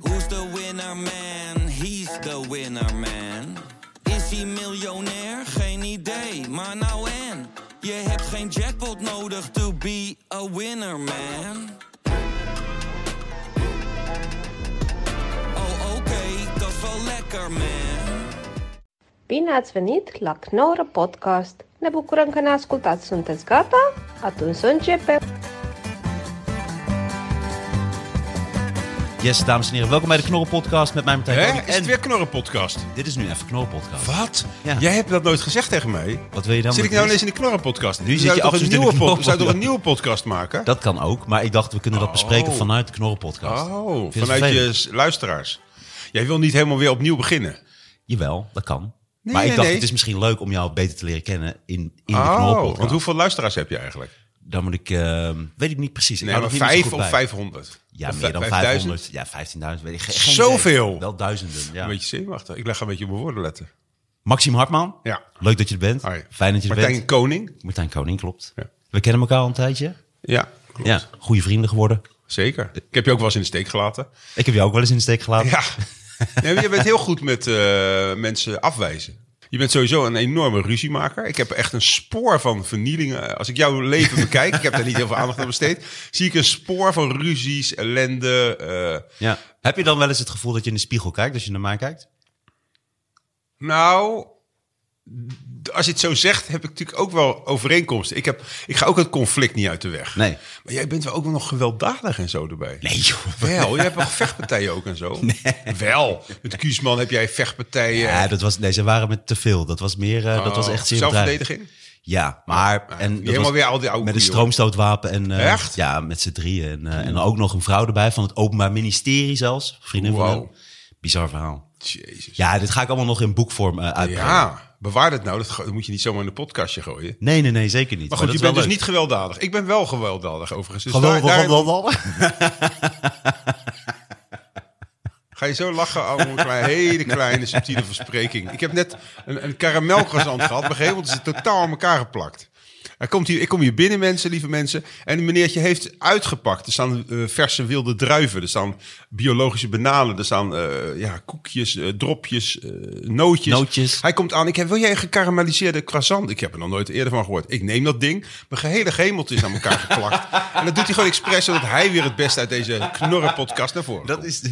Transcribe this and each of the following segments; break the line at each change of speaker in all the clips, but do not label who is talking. Who's the winner man? He's the winner man. Is hij miljonair? Geen idee, maar nou en. Je hebt geen jackpot nodig to be a winner man. Oh oké, dat is wel lekker man.
Bine ați venit la Knorr Podcast! Ne bucurăm că ne ascultați! Sunteți gata? Atunci să începem!
Yes, dames en heren, welkom bij de Knorren Podcast met mij Martijn
Hè?
Koning.
Is het
En
weer knorren podcast?
dit is nu even Knorren Podcast.
Wat?
Ja.
Jij hebt dat nooit gezegd tegen mij.
Wat wil je dan?
Zit ik
met
nou
dit?
ineens in de knorren podcast?
zit je
toch een
absoluut in de
nieuwe pod-
knorrenpodcast.
zou je toch een nieuwe podcast maken?
Dat kan ook, maar ik dacht we kunnen dat bespreken
Oh.
vanuit de Knorren Podcast.
oh,
Vind je het
vanuit je
vervelend?
s- luisteraars. Jij wil niet helemaal weer opnieuw beginnen.
Jawel, dat kan.
Nee,
maar ik
nee,
dacht
nee.
het is misschien leuk om jou beter te leren kennen in, in de Knorren
Oh,
Podcast.
want hoeveel luisteraars heb je eigenlijk?
Dan moet ik, ehm, weet ik niet precies. Ik
Nee,
hou
maar
dat niet meer zo
vijf
goed
of
bij.
500?
Ja,
Of
meer dan
5000?
500. Ja, 15.000, weet ik geen geen
Zoveel!
idee. Wel duizenden, ja.
Een beetje zenuwachtig. Ik leg een beetje op mijn woorden letten.
Maxime Hartman,
Ja.
leuk dat je er bent.
Hi.
Fijn dat je er
Martijn
bent.
Koning?
Martijn Koning, klopt.
Ja.
We kennen elkaar al een tijdje.
Ja, klopt.
Ja, goede vrienden geworden.
Zeker. Ik heb je ook wel eens in de steek gelaten.
Ik heb jou ook wel eens in de steek gelaten.
Ja. Nee, maar je bent heel goed met eh, mensen afwijzen. Je bent sowieso een enorme ruziemaker. Ik heb echt een spoor van vernielingen. Als ik jouw leven bekijk, ik heb daar niet heel veel aandacht aan besteed, zie ik een spoor van ruzies, ellende. eh.
Ja. Heb je dan wel eens het gevoel dat je in de spiegel kijkt als je naar mij kijkt?
nou, d- als je het zo zegt, heb ik natuurlijk ook wel overeenkomsten. Ik, heb, ik ga ook het conflict niet uit de weg.
Nee.
Maar jij bent wel ook wel nog gewelddadig en zo erbij.
Nee, joh.
Wel, je hebt wel vechtpartijen ook en zo. Wel, met Kuusman heb jij vechtpartijen.
Ja, dat was, nee, ze waren met te veel. Dat was meer, eh, dat was
Oh,
echt zeer bedreigend.
Zelfverdediging?
Ja, maar...
Ja,
En dat
helemaal
was
weer al die oude
Met een
koeien,
stroomstootwapen en... eh,
Echt?
Ja, met z'n drieën. En, eh, en ook nog een vrouw erbij van het Openbaar Ministerie zelfs. Vriendin van
Wauw.
hem. Bizar verhaal.
Jezus.
Ja, dit ga ik allemaal nog in boekvorm eh uitbrengen.
Ja, bewaar dat nou. Dat ge- dat moet je niet zomaar in een podcastje gooien.
Nee, nee, nee, zeker niet.
Maar goed,
dat
je
is wel
bent dus
leuk.
niet gewelddadig. Ik ben wel gewelddadig overigens. Dus
Gewoon,
daar- daar-
gewoon, gewoon-
Ga je zo lachen over een klein- hele kleine subtiele verspreking. Ik heb net een, een karamelcroissant gehad. Op een gegeven moment is het totaal aan elkaar geplakt. Er komt hier, ik kom hier binnen, mensen, lieve mensen. En een meneertje heeft uitgepakt. Er staan eh, verse wilde druiven. Er staan biologische bananen. Er staan eh, ja, koekjes, eh, dropjes, eh, nootjes.
Nootjes.
Hij komt aan. Ik heb, wil jij een gekarameliseerde croissant? Ik heb er nog nooit eerder van gehoord. Ik neem dat ding. Mijn gehele gemeltje is aan elkaar geplakt. en dat doet hij gewoon expres, zodat hij weer het beste uit deze knorrenpodcast naar voren
Dat, is,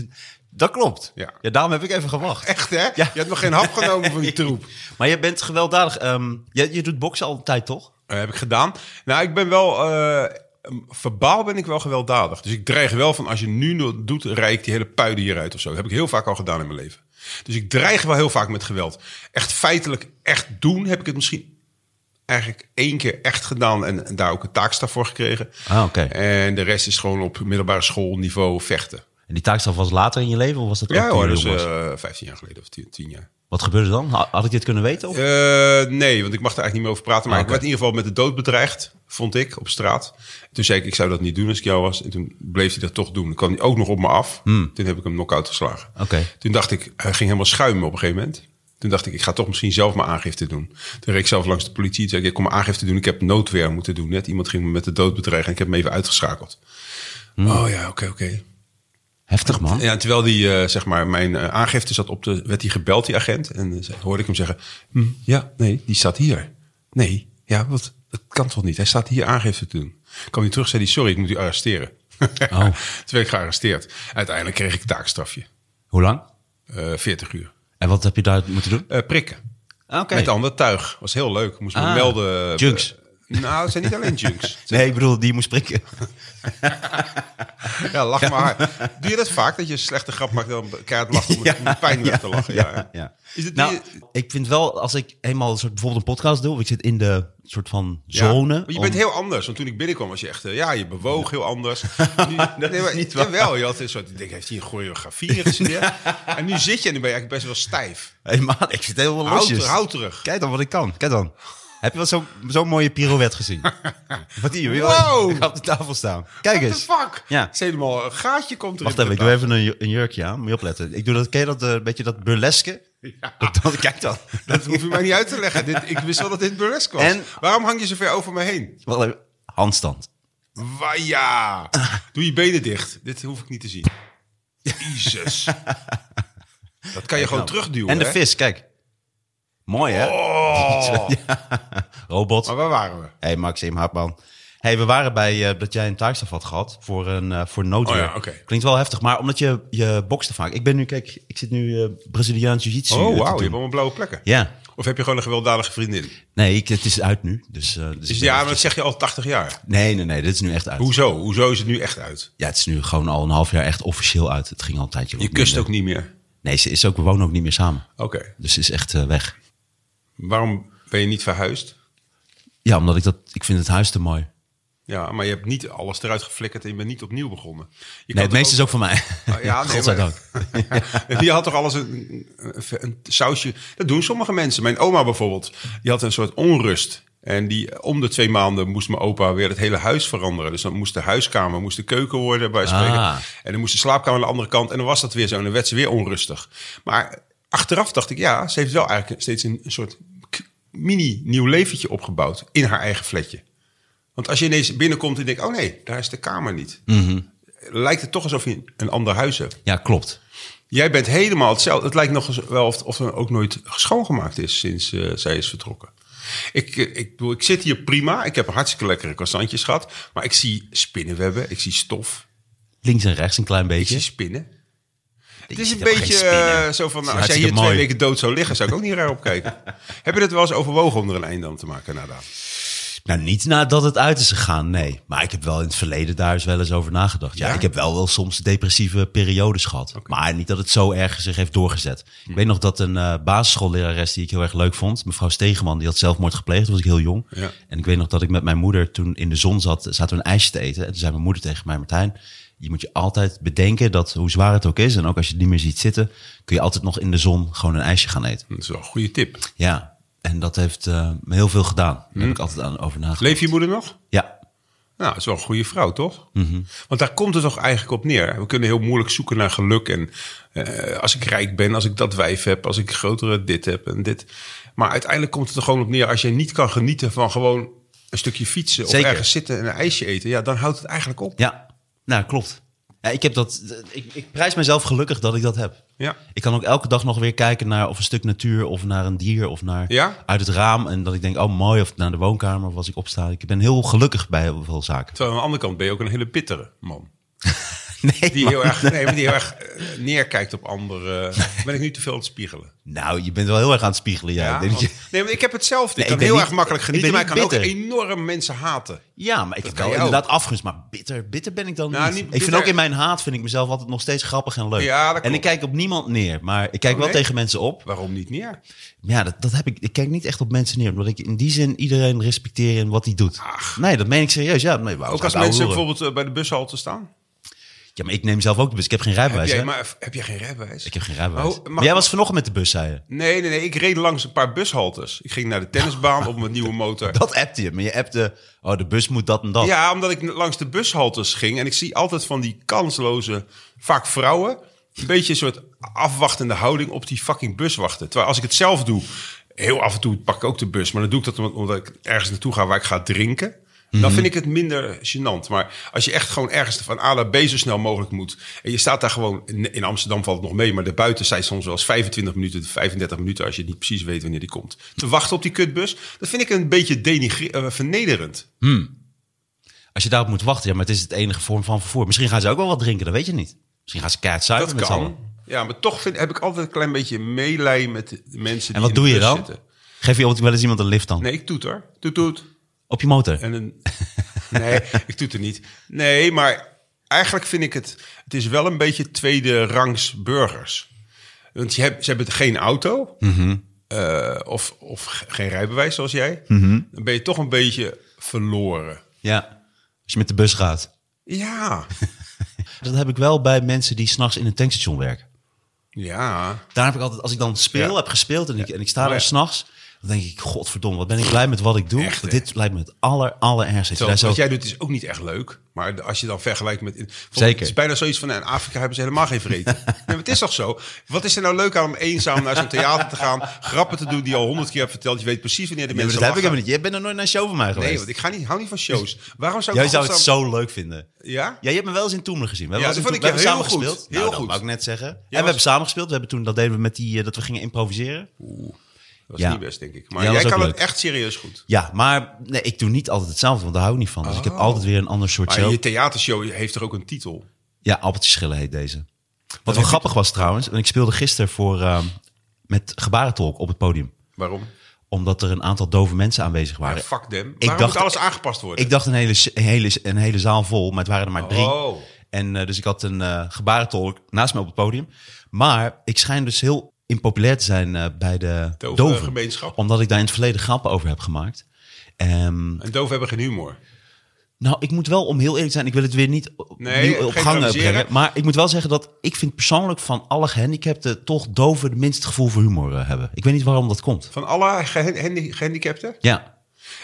dat klopt.
Ja.
ja, daarom heb ik even gewacht.
Echt, hè? Je hebt nog geen hap genomen van die troep.
Maar je bent gewelddadig. ehm, je, je doet boksen altijd, toch?
Eh, heb ik gedaan. Nou, ik ben wel... eh, verbaal ben ik wel gewelddadig. Dus ik dreig wel van als je nu nog doet, rij ik die hele puiden hieruit of zo. Dat heb ik heel vaak al gedaan in mijn leven. Dus ik dreig wel heel vaak met geweld. Echt feitelijk, echt doen heb ik het misschien eigenlijk één keer echt gedaan. En, en daar ook een taakstaf voor gekregen.
Ah, oké.
En de rest is gewoon op middelbare schoolniveau vechten.
En die taakstraf was later in je leven? Of was dat ook
Ja
toen
hoor,
je
dus
jong was?
eh 15 jaar geleden of 10 10 jaar.
Wat gebeurde dan? Ha- Had ik dit kunnen weten? Of?
Eh, nee, want ik mag daar eigenlijk niet meer over praten. Maar
Ah,
ik werd in ieder geval met de dood bedreigd, vond ik, op straat. Toen zei ik, ik zou dat niet doen als ik jou was. En toen bleef hij dat toch doen. Dan kwam hij ook nog op me af. Toen heb ik hem knock-out geslagen.
Oké.
Toen dacht ik, hij ging helemaal schuimen op een gegeven moment. Toen dacht ik, ik ga toch misschien zelf mijn aangifte doen. Toen reed ik zelf langs de politie. Toen zei ik, ik kom mijn aangifte doen. Ik heb noodweer moeten doen. Net iemand ging me met de dood bedreigen. En ik heb hem even uitgeschakeld. Oh ja, oké, oké.
Heftig, man.
Ja, en terwijl die, eh, zeg maar, mijn eh, aangifte zat op de... werd hij gebeld, die agent. En eh, ze- hoorde ik hem zeggen... "Hm, ja, nee, die staat hier. Nee, ja, wat, dat kan toch niet? Hij staat hier aangifte te doen. Kwam hij terug, zei hij... sorry, ik moet u arresteren.
Oh.
Toen werd ik gearresteerd. Uiteindelijk kreeg ik een taakstrafje.
Hoe lang?
Eh 40 uur.
En wat heb je daar moeten doen?
Eh, prikken.
Ah, Oké.
Met ander tuig. Was heel leuk. Moest me
Ah,
melden.
junks.
Eh, nou, het zijn niet alleen junks.
Nee, ik bedoel, die moest prikken.
Ja, lach maar. Doe je dat vaak? Dat je een slechte grap maakt dan keihard lacht om, het- om de pijn weg te lachen? Ja,
ja, ja.
Is het
nou,
niet-
ik vind wel, als ik eenmaal een soort, bijvoorbeeld een podcast doe, of ik zit in de soort van
Ja,
zone.
maar je
om-
bent heel anders. Want toen ik binnenkwam was je echt... eh, Ja, je bewoog heel anders. Nu, nee, maar,
niet waar.
jawel, je had een soort... Ik denk, heeft hij een choreografie gestudeerd? en nu zit je en nu ben je eigenlijk best wel stijf.
Hey, man, ik zit helemaal
Houd,
losjes.
houd terug.
Kijk dan wat ik kan. Kijk dan. Heb je wel zo'n zo'n mooie pirouette gezien? wat hier? joh.
Wow!
Ik ga op de tafel staan. Kijk
What the
eens.
fuck?
Ja.
Het is helemaal... Een gaatje komt erin.
Wacht even, ik doe even een, ju- een jurkje aan. Moet je opletten. Ik doe dat, ken je dat, eh, beetje dat burleske? Dat- dat- kijk dan.
Dat hoef je mij niet uit te leggen. Dit, ik wist wel dat dit burlesque was.
En-
Waarom hang je zo ver over me heen?
Wel even- Handstand.
Waja. Doe je benen dicht. Dit hoef ik niet te zien. Jezus. Dat kan je gewoon terugduwen.
En de
hè?
vis, kijk. Mooi, hè?
Oh.
Robot.
Maar waar waren we?
Hey Maxim Hartman. Hey, we waren bij eh, dat jij een taakstraf had gehad voor een eh, voor noodweer.
Oh ja, oké.
Klinkt wel heftig, maar omdat je je bokste vaak. Ik ben nu, kijk, ik zit nu eh, Braziliaans jiu-jitsu. eh,
Oh,
te
wauw. Je
doen.
hebt allemaal blauwe plekken.
Ja.
Of heb je gewoon een gewelddadige vriendin?
Nee, ik, het is uit nu. Dus, eh, dus
Dus
ik
ja,
ben-
maar dat zeg je al 80 jaar.
Nee, nee, nee. Dit is nu echt uit.
Hoezo? Hoezo is het nu echt uit?
Ja, het is nu gewoon al een half jaar echt officieel uit. Het ging al een tijdje.
Je
wat
kust ook
minder.
niet meer.
Nee, ze is ook, we wonen ook niet meer samen.
Oké.
Dus ze is echt eh, weg.
Waarom ben je niet verhuisd?
Ja, omdat ik dat, ik vind het huis te mooi.
Ja, maar je hebt niet alles eruit geflikkerd en je bent niet opnieuw begonnen. Je kan
Nee, het
toch
meeste is ook van mij.
Ah, ja, nee,
Godzijdank.
Die had toch alles een, een, een sausje. Dat doen sommige mensen. Mijn oma bijvoorbeeld, die had een soort onrust. En die, om de twee maanden moest mijn opa weer het hele huis veranderen. Dus dan moest de huiskamer, moest de keuken worden bij spreken.
Ah.
En dan moest de slaapkamer aan de andere kant. En dan was dat weer zo. En dan werd ze weer onrustig. Maar achteraf dacht ik, ja, ze heeft wel eigenlijk steeds een, een soort k- mini nieuw leventje opgebouwd in haar eigen flatje. Want als je ineens binnenkomt en denkt, oh nee, daar is de kamer niet. Lijkt het toch alsof je een ander huis hebt.
Ja, klopt.
Jij bent helemaal hetzelfde. Het lijkt nog eens wel of, of er ook nooit schoongemaakt is sinds eh, zij is vertrokken. Ik, eh, ik, bedoel, ik zit hier prima. Ik heb hartstikke lekkere croissantjes gehad. Maar ik zie spinnenwebben. Ik zie stof.
Links en rechts een klein
Ik zie
beetje.
spinnen. Het
Je
is
ziet
een
helemaal geen
beetje
spinnen.
eh, zo van... Nou,
Het
als
is
jij
hartstikke
hier twee
mooi.
weken dood zou liggen... zou ik ook niet raar op kijken. Heb je dat wel eens overwogen om er een einde aan te maken, Nada?
Nou, niet nadat het uit is gegaan, nee. Maar ik heb wel in het verleden daar eens wel eens over nagedacht. Ja,
Ja?
ik heb wel wel soms depressieve periodes gehad. Maar niet dat het zo erg zich heeft doorgezet. Ik weet nog dat een eh basisschoollerares die ik heel erg leuk vond... mevrouw Stegeman, die had zelfmoord gepleegd, toen was ik heel jong.
Ja.
En ik weet nog dat ik met mijn moeder toen in de zon zat... zaten we een ijsje te eten. En toen zei mijn moeder tegen mij, Martijn... je moet je altijd bedenken dat hoe zwaar het ook is... en ook als je het niet meer ziet zitten... kun je altijd nog in de zon gewoon een ijsje gaan eten.
Dat is wel een goede tip.
Ja, en dat heeft eh, me heel veel gedaan. Daar heb ik altijd aan over nagedacht.
Leef je moeder nog?
Ja,
Nou, dat is wel een goede vrouw, toch?
Mhm.
Want daar komt het toch eigenlijk op neer. We kunnen heel moeilijk zoeken naar geluk. En eh, als ik rijk ben, als ik dat wijf heb, als ik grotere dit heb en dit. Maar uiteindelijk komt het er gewoon op neer. Als je niet kan genieten van gewoon een stukje fietsen
Zeker.
of ergens zitten en een ijsje eten, ja, dan houdt het eigenlijk op.
ja. Nou, klopt. Ja, ik, heb dat, ik, ik prijs mezelf gelukkig dat ik dat heb.
Ja.
Ik kan ook elke dag nog weer kijken naar of een stuk natuur of naar een dier of naar
Ja?
uit het raam. En dat ik denk, oh mooi, of naar de woonkamer of als ik opsta. Ik ben heel gelukkig bij heel veel zaken.
Terwijl aan de andere kant ben je ook een hele bittere man.
Nee,
Die
man.
heel erg, nee, maar die heel erg eh, neerkijkt op anderen. Ben ik nu te veel aan het spiegelen?
Nou, je bent wel heel erg aan het spiegelen. Ja, Ik denk dat
want-
je-
nee, maar ik heb hetzelfde.
Nee,
ik
ik
kan
ben
heel
niet-
erg makkelijk
ik ben
genieten, maar ik
niet
kan ook
bitter.
enorm mensen haten.
ja maar ik heb
kan
wel
je ook.
inderdaad afgunst. Maar bitter, bitter ben ik dan
Nou,
niet.
niet
Ik vind
bitter.
ook in mijn haat vind ik mezelf altijd nog steeds grappig en leuk.
Ja,
en
dat
ik
klopt. Oh,
kijk op niemand neer. Maar ik kijk wel
nee?
tegen mensen op.
Waarom niet neer?
Ja, dat, dat heb ik. Ik kijk niet echt op mensen neer, omdat ik in die zin iedereen respecteer in wat hij doet. Nee, dat meen ik serieus. Ja, nee, wauw,
Ook als
oude
mensen
hoeren.
bijvoorbeeld eh, bij de bushalte staan.
Ja, maar ik neem zelf ook de bus. Ik heb geen rijbewijs.
Heb jij,
hè?
maar, heb jij geen rijbewijs?
Ik heb geen rijbewijs.
Oh, mag-
maar jij was vanochtend met de bus, zei je.
Nee, nee, nee. Ik reed langs een paar bushaltes. Ik ging naar de tennisbaan op mijn nieuwe motor.
Dat appte je, maar je appte. Oh, de bus moet dat en dat.
Ja, omdat ik langs de bushaltes ging. En ik zie altijd van die kansloze, vaak vrouwen... een beetje een soort afwachtende houding op die fucking bus wachten. Terwijl als ik het zelf doe, heel af en toe pak ik ook de bus. Maar dan doe ik dat omdat, omdat ik ergens naartoe ga waar ik ga drinken. Dan vind ik het minder gênant. Maar als je echt gewoon ergens van A naar B zo snel mogelijk moet... en je staat daar gewoon... In in Amsterdam valt het nog mee, maar daarbuiten zijn soms wel eens 25 minuten... 35 minuten als je niet precies weet wanneer die komt. Te wachten op die kutbus, dat vind ik een beetje denigre- eh, vernederend.
Als je daarop moet wachten, ja, maar het is het enige vorm van vervoer. Misschien gaan ze ook wel wat drinken, dat weet je niet. Misschien gaan ze keihard zuipen
Dat
met z'n allen.
kan. Ja, maar toch vind, heb ik altijd een klein beetje meelij met de mensen die
En wat
in de
doe je
bus
dan?
zitten.
Geef je wel eens iemand een lift dan?
Nee, ik toeter. Toet, toet.
Op je motor?
En een... Nee, ik toeter niet. Nee, maar eigenlijk vind ik het... Het is wel een beetje tweede rangs burgers. Want je hebt, ze hebben geen auto.
Mhm.
eh, of, of ge- geen rijbewijs zoals jij.
Mhm.
Dan ben je toch een beetje verloren.
Ja. Als je met de bus gaat.
Ja.
Dat heb ik wel bij mensen die s'nachts in een tankstation werken.
Ja.
Daar heb ik altijd, als ik dan speel,
Ja.
heb gespeeld en ik, en ik sta
Oh,
daar
ja.
s'nachts, Dan denk ik, godverdomme, wat ben ik blij met wat ik doe.
Echt, hè?
dit lijkt me het aller, aller ergste.
Terwijl
Daar zou-
wat jij doet is ook niet echt leuk. Maar als je dan vergelijkt met...
Zeker.
Het is bijna zoiets van, nou, in Afrika hebben ze helemaal geen vrede. nee, maar het is toch zo? Wat is er nou leuk aan om eenzaam naar zo'n theater te gaan? Grappen te doen die je al honderd keer hebt verteld. Je weet precies wanneer de
Ja, maar
mensen
dat heb ik
lachen.
helemaal niet. Jij bent nog nooit naar een show van mij geweest.
Nee, want ik ga niet, hou niet van shows. Waarom zou ik
Jij zou het
godsnaam-
zo leuk vinden.
Ja?
Ja, je hebt me wel eens in Toemler gezien. We
Ja,
hebben, wel
dat
eens
vond
in
ik
Toemler- we
heel
hebben samen
goed.
gespeeld.
Heel
nou, dat
goed.
wou ik net zeggen. en we
was-
hebben samen gespeeld. We hebben toen, dat deden we met die, eh, dat we gingen improviseren.
Dat is
Ja.
niet best, denk ik. Maar
Ja, dat
jij
is ook
kan het
leuk.
echt serieus goed.
Ja, maar nee, ik doe niet altijd hetzelfde, want daar hou ik niet van. Dus ik heb altijd weer een ander soort
Oh. Maar
show.
je theatershow heeft toch ook een titel?
Ja, Albertje Schillen heet deze. Wat wel grappig was trouwens, want ik speelde gisteren voor, ehm, met gebarentolk op het podium.
Waarom?
Omdat er een aantal dove mensen aanwezig waren.
Ja, fuck them.
ik
Waarom
dacht-
moet alles aangepast worden?
Ik dacht een hele, een, hele, een hele zaal vol, maar het waren er maar drie.
Oh.
En eh, dus ik had een eh, gebarentolk naast me op het podium. Maar ik schijn dus heel impopulair te zijn eh, bij de
Dove,
doven.
eh, gemeenschap.
Omdat ik daar in het verleden grappen over heb gemaakt. Ehm,
En doven hebben geen humor.
nou, ik moet wel, om heel eerlijk te zijn, ik wil het weer niet op-
Nee,
opnieuw op gang eh,
generaliseren.
brengen. Maar ik moet wel zeggen dat ik vind persoonlijk van alle gehandicapten toch doven het minste gevoel voor humor eh, hebben. Ik weet niet waarom dat komt.
Van alle gehan- handi- gehandicapten?
Ja,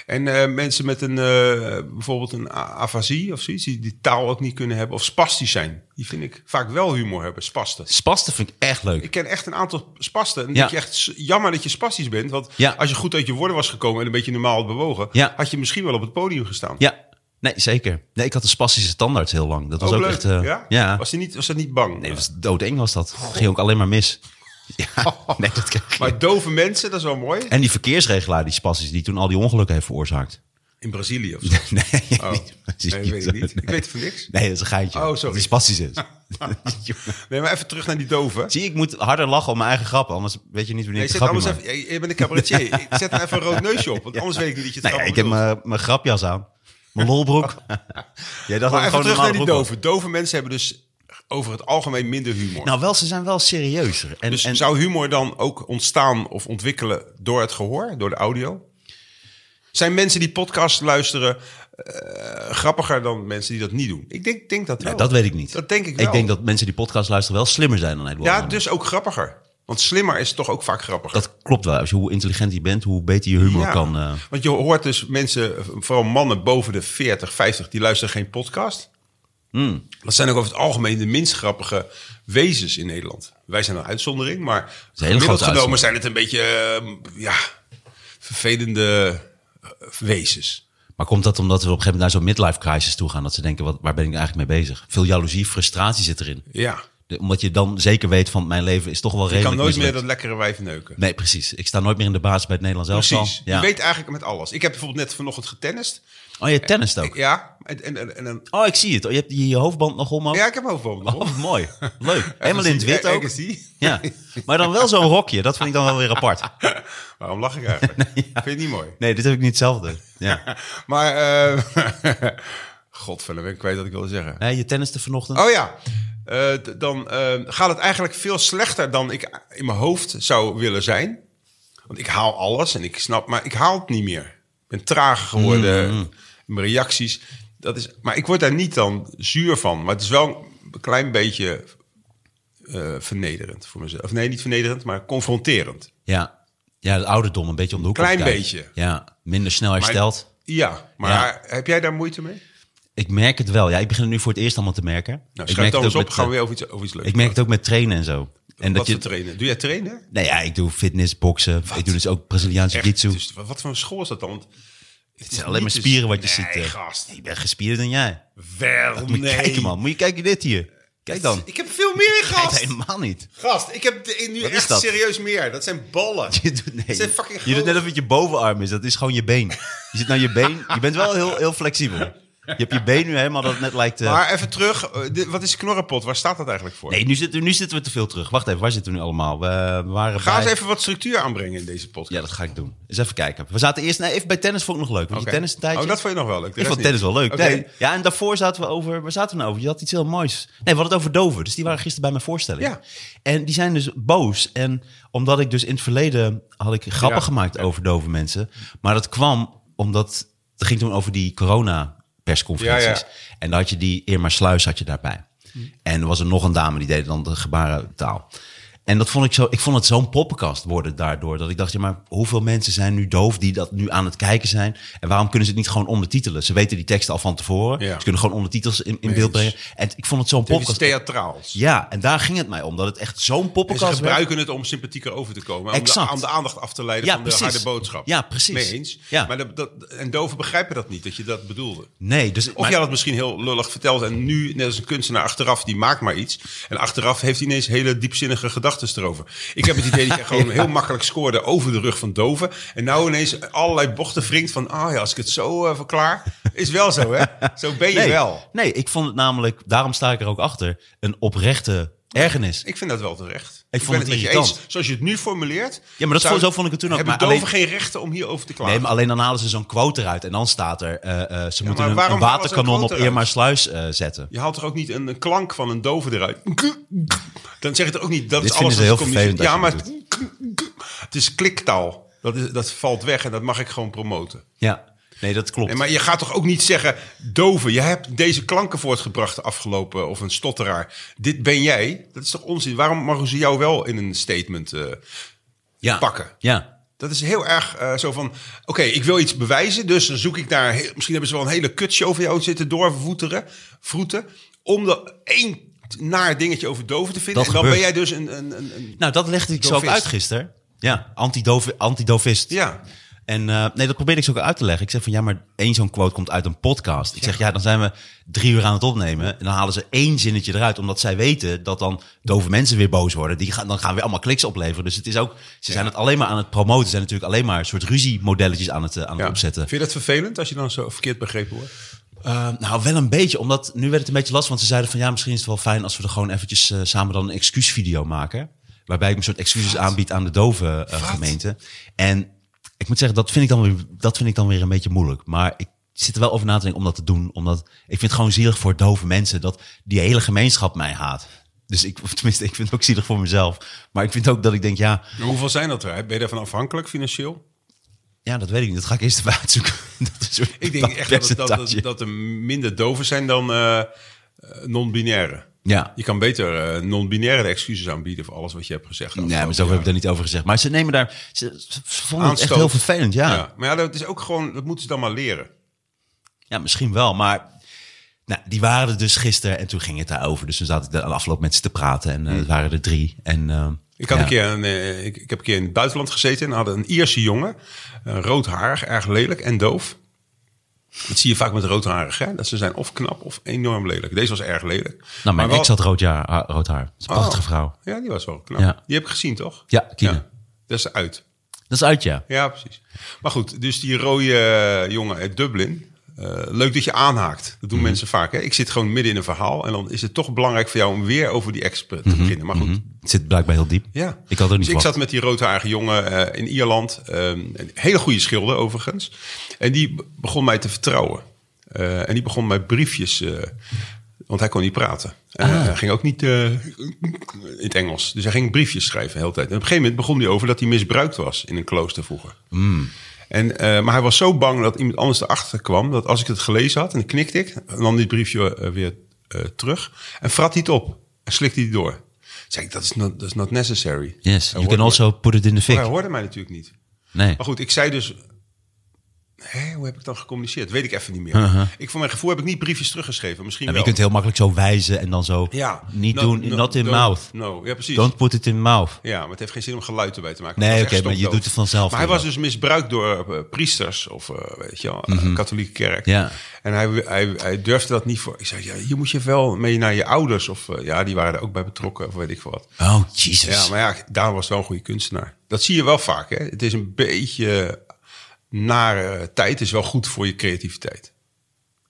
En eh, mensen met een, eh, bijvoorbeeld een a- afasie of zoiets, die, die taal ook niet kunnen hebben. Of spastisch zijn. Die vind ik vaak wel humor hebben, spasten.
spasten vind ik echt leuk.
Ik ken echt een aantal spasten. En dan
Ja.
denk je echt, s- jammer dat je spastisch bent. Want
Ja.
als je goed uit je woorden was gekomen en een beetje normaal had bewogen...
Ja.
had je misschien wel op het podium gestaan.
Ja, nee, zeker. Nee, ik had een spastische tandarts heel lang. Dat was ook,
Oh, leuk,
echt... eh,
ja?
ja.
Was, hij niet, was dat niet bang?
Nee, dat was doodeng was dat. Ging ook alleen maar mis. Ja, nee, dat krijg je.
Oh. Maar dove mensen, dat is wel mooi.
En die verkeersregelaar, die spassies, die toen al die ongelukken heeft veroorzaakt.
In Brazilië of zo.
Nee,
Oh,
niet precies.
nee, weet ik niet. Ik
Nee.
weet van niks.
Nee, dat is een geintje.
Oh,
Dat
sorry.
Die spassies is.
Nee, maar even terug naar die doven.
Zie, ik moet harder lachen om mijn eigen grappen, anders weet je niet wanneer
Nee,
ik een
zet
grapje
anders
maak.
even, jij- je bent een cabaretier. Ik zet er even een rood neusje op, want anders weet ik niet dat je het
Nou ja,
grappig
ik heb
bedoelt. Oh.
mijn, mijn grapjas aan. Mijn lolbroek. Jij dacht dat
Maar
ik
even
gewoon een
terug naar
normale
die
broek was.
doven. Dove mensen hebben dus over het algemeen minder humor.
Nou wel, ze zijn wel serieuzer. En,
dus
en,
zou humor dan ook ontstaan of ontwikkelen door het gehoor, door de audio? Zijn mensen die podcast luisteren eh, grappiger dan mensen die dat niet doen? Ik denk, denk dat wel.
Ja, dat weet ik niet.
Dat denk ik wel.
Ik denk dat mensen die podcast luisteren wel slimmer zijn dan Edward.
Ja,
Norman.
dus ook grappiger. Want slimmer is toch ook vaak grappiger.
Dat klopt wel. Als je, hoe intelligent je bent, hoe beter je humor
Ja,
kan. eh,
Want je hoort dus mensen, vooral mannen boven de 40, 50, die luisteren geen podcast.
Hmm.
Dat zijn ook over het algemeen de minst grappige wezens in Nederland. Wij zijn een uitzondering, maar
een hele
gemiddeld
grote
genomen zijn het een beetje eh, ja, vervelende eh, wezens.
Maar komt dat omdat we op een gegeven moment naar zo'n midlife crisis toe gaan? Dat ze denken, wat, waar ben ik nou eigenlijk mee bezig? Veel jaloezie, frustratie zit erin.
Ja,
De- omdat je dan zeker weet van mijn leven is toch wel
je
redelijk
kan nooit meer
mislukt.
dat lekkere wijf neuken.
Nee, precies. Ik sta nooit meer in de baas bij het Nederlands elftal.
Precies,
Ja.
je weet eigenlijk met alles. Ik heb bijvoorbeeld net vanochtend getennist.
Oh, je tennist ook.
Ja, en, en, en, en een-
Oh, ik zie het. Oh, je hebt je hoofdband nog om ook.
ja ik heb hoofdbomen nog.
Oh, mooi. Leuk. Helemaal in het wit ook.
Ergens die.
Ja. Maar dan wel zo'n rokje. Dat vind ik dan wel weer apart.
Waarom lach ik eigenlijk? Vind je het niet mooi?
Nee, dit heb ik niet hetzelfde. Ja.
Maar, eh godverdomme, ben ik kwijt wat ik wilde zeggen.
Nee, je tenniste vanochtend.
Oh ja, eh, d- dan eh, gaat het eigenlijk veel slechter dan ik in mijn hoofd zou willen zijn. Want ik haal alles en ik snap, maar ik haal het niet meer. Ik ben trager geworden,
Mm-hmm.
mijn reacties. Dat is, maar ik word daar niet dan zuur van. Maar het is wel een klein beetje eh, vernederend voor mezelf. Of nee, niet vernederend, maar confronterend.
Ja. Ja, het ouderdom een beetje om de hoek.
Klein
komt kijken.
beetje.
Ja, minder snel hersteld.
Ja, maar heb jij daar moeite mee?
Ik merk het wel. Ja, ik begin het nu voor het eerst allemaal te merken.
Nou,
ik
schrijf
merk
dan eens op,
met,
gaan we
eh,
weer over iets, over iets leuks
Ik merk het ook met trainen en zo. En
Wat
dat je,
voor trainen? Doe jij trainen?
nou ja, ik doe fitness, boksen. Ik doe dus ook Braziliaanse jiu-jitsu.
dus wat wat voor een school is dat dan? Want
Het zijn alleen maar spieren wat je ziet.
Nee,
eh.
gast.
Ik ben gespierder dan jij.
Wel,
Moet je
nee.
kijken, man. Moet je kijken dit hier. Kijk dan.
Ik heb veel meer,
Kijk
gast.
helemaal niet.
Gast, ik heb de- nu
Wat is
echt
dat?
serieus meer. Dat zijn ballen.
Je doet, nee,
Dat zijn fucking
je doet net
grote-
alsof het je bovenarm is. Dat is gewoon je been. Je zit naar je been. Je bent wel heel, heel flexibel. Je hebt je been nu helemaal dat het net lijkt... eh,
Maar even terug. eh, dit- wat is knorrenpot? Waar staat dat eigenlijk voor?
Nee, nu zitten, nu zitten we te veel terug. Wacht even, waar zitten we nu allemaal? We, we waren
Ga
bij...
eens even wat structuur aanbrengen in deze podcast.
Ja, dat ga ik doen. Eens even kijken. We zaten eerst nee, even bij tennis, vond ik nog leuk. Want
Oké.
je tennis een tijdje.
Oh, dat vond je nog wel leuk. De
ik
rest
vond tennis
niet.
wel leuk.
Oké.
Nee, ja, en daarvoor zaten we over. Waar zaten we nou over? Je had iets heel moois. Nee, we hadden het over Dover. Dus die waren gisteren bij mijn voorstelling.
Ja.
En die zijn dus boos. En omdat ik dus in het verleden had ik grappen
Ja.
gemaakt over dove mensen. Maar dat kwam omdat. Het ging toen over die corona-persconferenties.
Ja, ja.
En daar had je
Hmm.
die Irma Sluis had je daarbij. En er was er nog een dame die deed dan de gebarentaal. En dat vond ik zo, ik vond het zo'n poppenkast worden daardoor. Dat ik dacht, ja, maar hoeveel mensen zijn nu doof die dat nu aan het kijken zijn? En waarom kunnen ze het niet gewoon ondertitelen? Ze weten die teksten al van tevoren.
Ja.
Ze kunnen gewoon ondertitels in, in
Eens.
beeld brengen. En ik vond het zo'n
Dit is
poppenkast.
theatraals.
Ja, en daar ging het mij om. Dat het echt zo'n
En ze
poppenkast werd.
gebruiken het om sympathieker over te komen. Om de,
Exact.
aan de aandacht af te leiden
Ja,
van
precies.
de harde boodschap.
Ja, precies.
Mee eens.
Ja.
Maar dat, dat, en doven begrijpen dat niet, dat je dat bedoelde.
Nee, dus...
Of jij had het misschien heel lullig verteld en nu, net als een kunstenaar achteraf, die maakt maar iets. En achteraf heeft hij ineens hele diepzinnige gedachten erover. Ik heb het idee dat jij gewoon heel makkelijk scoorde over de rug van doven. En nou ineens allerlei bochten wringt van, ah ja, als ik het zo eh, verklaar. Is wel zo, hè? Zo ben je
nee,
wel.
Nee, ik vond het namelijk, daarom sta ik er ook achter, een oprechte ergernis.
Ik vind dat wel terecht.
Ik vond het
met je
irritant.
eens. Zoals je het nu formuleert.
Ja, maar dat
zou-
vond- zo vond ik het toen ook,
Hebben
maar
doven
alleen-
geen rechten om hierover te klagen?
Nee, maar alleen dan halen ze zo'n quote eruit en dan staat er, eh, eh, ze moeten
maar
een- een,
waarom halen ze een
waterkanon op
quote eruit?
Eermaarsluis eh zetten.
Je haalt er ook niet een, een klank van een dove eruit. Dan zeg je er ook niet dat
Dit
is alles
vinden ze
wat
heel
communie-
vervelend
Ja, maar
als je
het is kliktaal. Dat, is, dat valt weg en dat mag ik gewoon promoten.
Ja, nee, dat klopt.
Nee, maar je gaat toch ook niet zeggen, dove, je hebt deze klanken voortgebracht de afgelopen, of een stotteraar. Dit ben jij. Dat is toch onzin? Waarom mogen ze jou wel in een statement eh,
ja.
pakken?
Ja.
Dat is heel erg eh, zo van, oké, ik wil iets bewijzen, dus dan zoek ik naar, he- misschien hebben ze wel een hele kutshow van jou zitten doorvoeteren, vroeten, om dat één naar dingetje over doven te vinden.
Dat
en dan ben
gebeurt.
jij dus een, een, een, een-
Nou, dat legde ik zo ook
Dovist.
uit gisteren. Ja, antidov- antidovist.
ja,
En eh, nee, dat probeerde ik ze ook uit te leggen. Ik zeg van ja, maar één zo'n quote komt uit een podcast. Ik zeg ja, dan zijn we drie uur aan het opnemen. En dan halen ze één zinnetje eruit, omdat zij weten dat dan dove mensen weer boos worden. Die gaan, dan gaan we allemaal kliks opleveren. Dus het is ook, ze zijn het alleen maar aan het promoten. Ze zijn natuurlijk alleen maar een soort ruziemodelletjes aan het, eh, aan het
ja.
opzetten.
Vind je dat vervelend als je dan zo verkeerd begrepen wordt?
Eh, nou, wel een beetje. Omdat nu werd het een beetje lastig. Want ze zeiden van ja, misschien is het wel fijn als we er gewoon eventjes eh, samen dan een excuusvideo maken. Waarbij ik een soort excuses aanbied aan de dove eh, gemeente. En ik moet zeggen, dat vind ik, dan weer, dat vind ik dan weer een beetje moeilijk. Maar ik zit er wel over na te denken om dat te doen. Omdat ik vind het gewoon zielig voor dove mensen dat die hele gemeenschap mij haat. Dus ik, of tenminste, ik vind het ook zielig voor mezelf. Maar ik vind ook dat ik denk, ja,
Nou, hoeveel zijn dat er? Ben je daarvan afhankelijk financieel?
ja dat weet ik niet. Dat ga ik eerst even uitzoeken. Dat is een
Ik denk echt dat, het- dat, dat,
percentage.
dat er minder doven zijn dan eh, eh, non-binaire.
ja.
Je kan beter eh, non-binaire de excuses aanbieden voor alles wat je hebt gezegd.
Nee, maar zo heb ik daar niet over gezegd. Maar ze nemen daar. Ze, ze vonden het echt
Aanstoot.
heel vervelend, ja. ja.
Ja, maar ja, dat is ook gewoon, dat moeten ze dan maar leren.
misschien wel. Maar nou, die waren er dus gisteren en toen ging het daarover. Dus toen zat ik daar aan de afloop met ze te praten en eh, het waren er drie. En, eh,
Hmm. Ik, had
ja.
een keer een, eh, ik, ik heb een keer in het buitenland gezeten en hadden een Ierse jongen, eh, roodharig, erg lelijk en doof. Dat zie je vaak met roodharig, hè? dat ze zijn of knap of enorm lelijk. Deze was erg lelijk.
Nou, mijn
Maar wel-
ex had rood, jaar, ha- rood haar. Dat is een prachtige
Oh.
vrouw.
Ja, die was wel knap.
Ja.
Die heb ik gezien, toch?
Ja, Kine.
Dat is uit.
Dat is uit, ja.
Ja, precies. Maar goed, dus die rode eh, jongen uit Dublin. eh, leuk dat je aanhaakt. Dat
Mhm.
doen mensen vaak. Hè? Ik zit gewoon midden in een verhaal. En dan is het toch belangrijk voor jou om weer over die expert
Mhm.
te beginnen. Maar goed,
Het zit blijkbaar heel diep.
ja.
Ik had er niet
dus ik
verwacht.
zat met die roodharige jongen eh, in Ierland. ehm, een hele goede schilder overigens. En die be- begon mij te vertrouwen. Eh, en die begon mij briefjes... eh, want hij kon niet praten. En
Ah.
Hij ging ook niet eh, in het Engels. Dus hij ging briefjes schrijven de hele tijd. En op een gegeven moment begon hij over dat hij misbruikt was in een klooster vroeger. En, eh, maar hij was zo bang dat iemand anders erachter kwam... dat als ik het gelezen had, en dan knikte ik... en nam die briefje eh, weer eh, terug... en frat hij het op en slikte hij door. Zeg ik, dat is not, that's not necessary.
Yes,
Hij
you can
hoorde- Oh,
also put it in the
Hij
fik.
hoorde mij natuurlijk niet.
Nee. Nou,
Maar goed, ik zei dus... Hé, hoe heb ik dan gecommuniceerd? Weet ik even niet meer. Ik, voor mijn gevoel heb ik niet briefjes teruggeschreven. Misschien
En Uh-huh. je
wel.
kunt heel makkelijk zo wijzen en dan zo
ja.
niet
No-
doen,
no-
not in
don't-
mouth.
No, ja, precies.
Don't put it in mouth.
Ja, maar het heeft geen zin om geluid erbij te maken.
Nee,
Dat is
oké,
echt
maar je
stomdoof.
doet het vanzelf
Maar hij
wel.
was dus misbruikt door eh, priesters of, eh, weet je wel, eh, katholieke kerk.
Mhm. Ja.
En hij, hij, hij durfde dat niet voor. Ik zei, ja, hier moet je wel mee naar je ouders. Of eh, ja, die waren er ook bij betrokken, of weet ik veel wat.
Oh, Jesus.
Ja, maar ja, daar was wel een goede kunstenaar. Dat zie je wel vaak, hè. Het is een beetje nare tijd. Het is wel goed voor je creativiteit.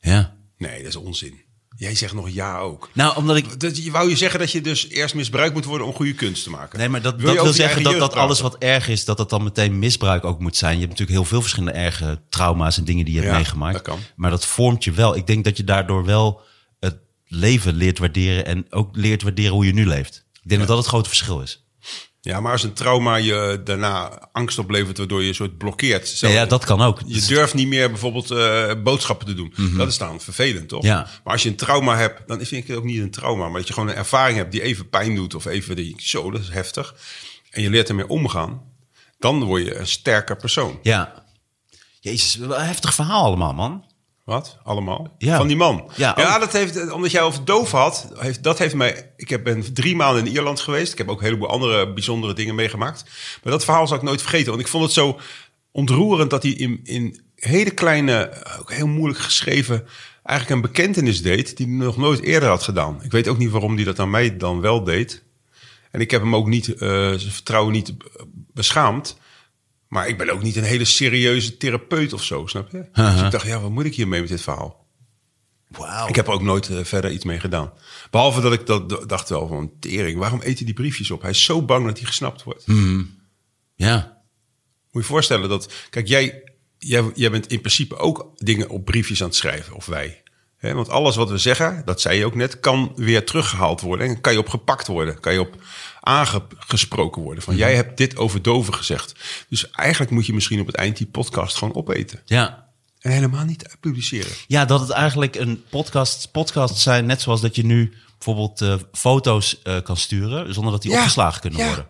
ja.
Nee, dat is onzin. Jij zegt nog ja ook.
Nou, omdat ik
Dat, je wou je zeggen dat je dus eerst misbruikt moet worden om goede kunst te maken?
Nee, maar dat
Wil
wil,
je
dat
over
wil
je
zeggen
eigen
dat, dat
jeugd
alles
praten?
wat erg is, dat dat dan meteen misbruik ook moet zijn. Je hebt natuurlijk heel veel verschillende erge trauma's en dingen die je hebt
Ja,
meegemaakt.
dat kan.
Maar dat vormt je wel. Ik denk dat je daardoor wel het leven leert waarderen en ook leert waarderen hoe je nu leeft. Ik denk dat dat het grote verschil is.
Ja, maar als een trauma je daarna angst oplevert, waardoor je een soort blokkeert. Zo,
Ja, ja, dat kan ook.
Je durft niet meer bijvoorbeeld eh, boodschappen te doen. Dat is dan vervelend, toch?
Mhm. Ja.
Maar als je een trauma hebt, dan vind ik het ook niet een trauma. Maar dat je gewoon een ervaring hebt die even pijn doet of even die, zo, dat is heftig. En je leert ermee omgaan. Dan word je een sterker persoon.
Ja. Jezus, wel een heftig verhaal allemaal, man.
Wat? Allemaal?
Ja.
Van die man.
Ja,
Ja,
ook.
dat heeft, omdat jij over doof had, heeft, dat heeft mij. Ik heb, ben drie maanden in Ierland geweest. Ik heb ook een heleboel andere bijzondere dingen meegemaakt. Maar dat verhaal zal ik nooit vergeten. Want ik vond het zo ontroerend dat hij in, in hele kleine, ook heel moeilijk geschreven, eigenlijk een bekentenis deed die hij nog nooit eerder had gedaan. Ik weet ook niet waarom hij dat aan mij dan wel deed. En ik heb hem ook niet, eh, zijn vertrouwen niet eh, beschaamd. Maar ik ben ook niet een hele serieuze therapeut of zo, snap je? Dus ik dacht, ja, wat moet ik hiermee met dit verhaal?
Wauw.
Ik heb er ook nooit eh, verder iets mee gedaan. Behalve dat ik dat d- dacht wel van, tering, waarom eet hij die briefjes op? Hij is zo bang dat hij gesnapt wordt.
Ja.
Moet je je voorstellen dat, kijk, jij, jij, jij bent in principe ook dingen op briefjes aan het schrijven, of wij. Hè, want alles wat we zeggen, dat zei je ook net, kan weer teruggehaald worden. En kan je op gepakt worden, kan je op aangesproken worden. Van jij hebt dit over doven gezegd. Dus eigenlijk moet je misschien op het eind die podcast gewoon opeten.
Ja.
En helemaal niet publiceren.
Ja, dat het eigenlijk een podcast, podcasts zijn, net zoals dat je nu bijvoorbeeld eh, foto's eh, kan sturen, zonder dat die
Ja,
opgeslagen kunnen
ja.
worden.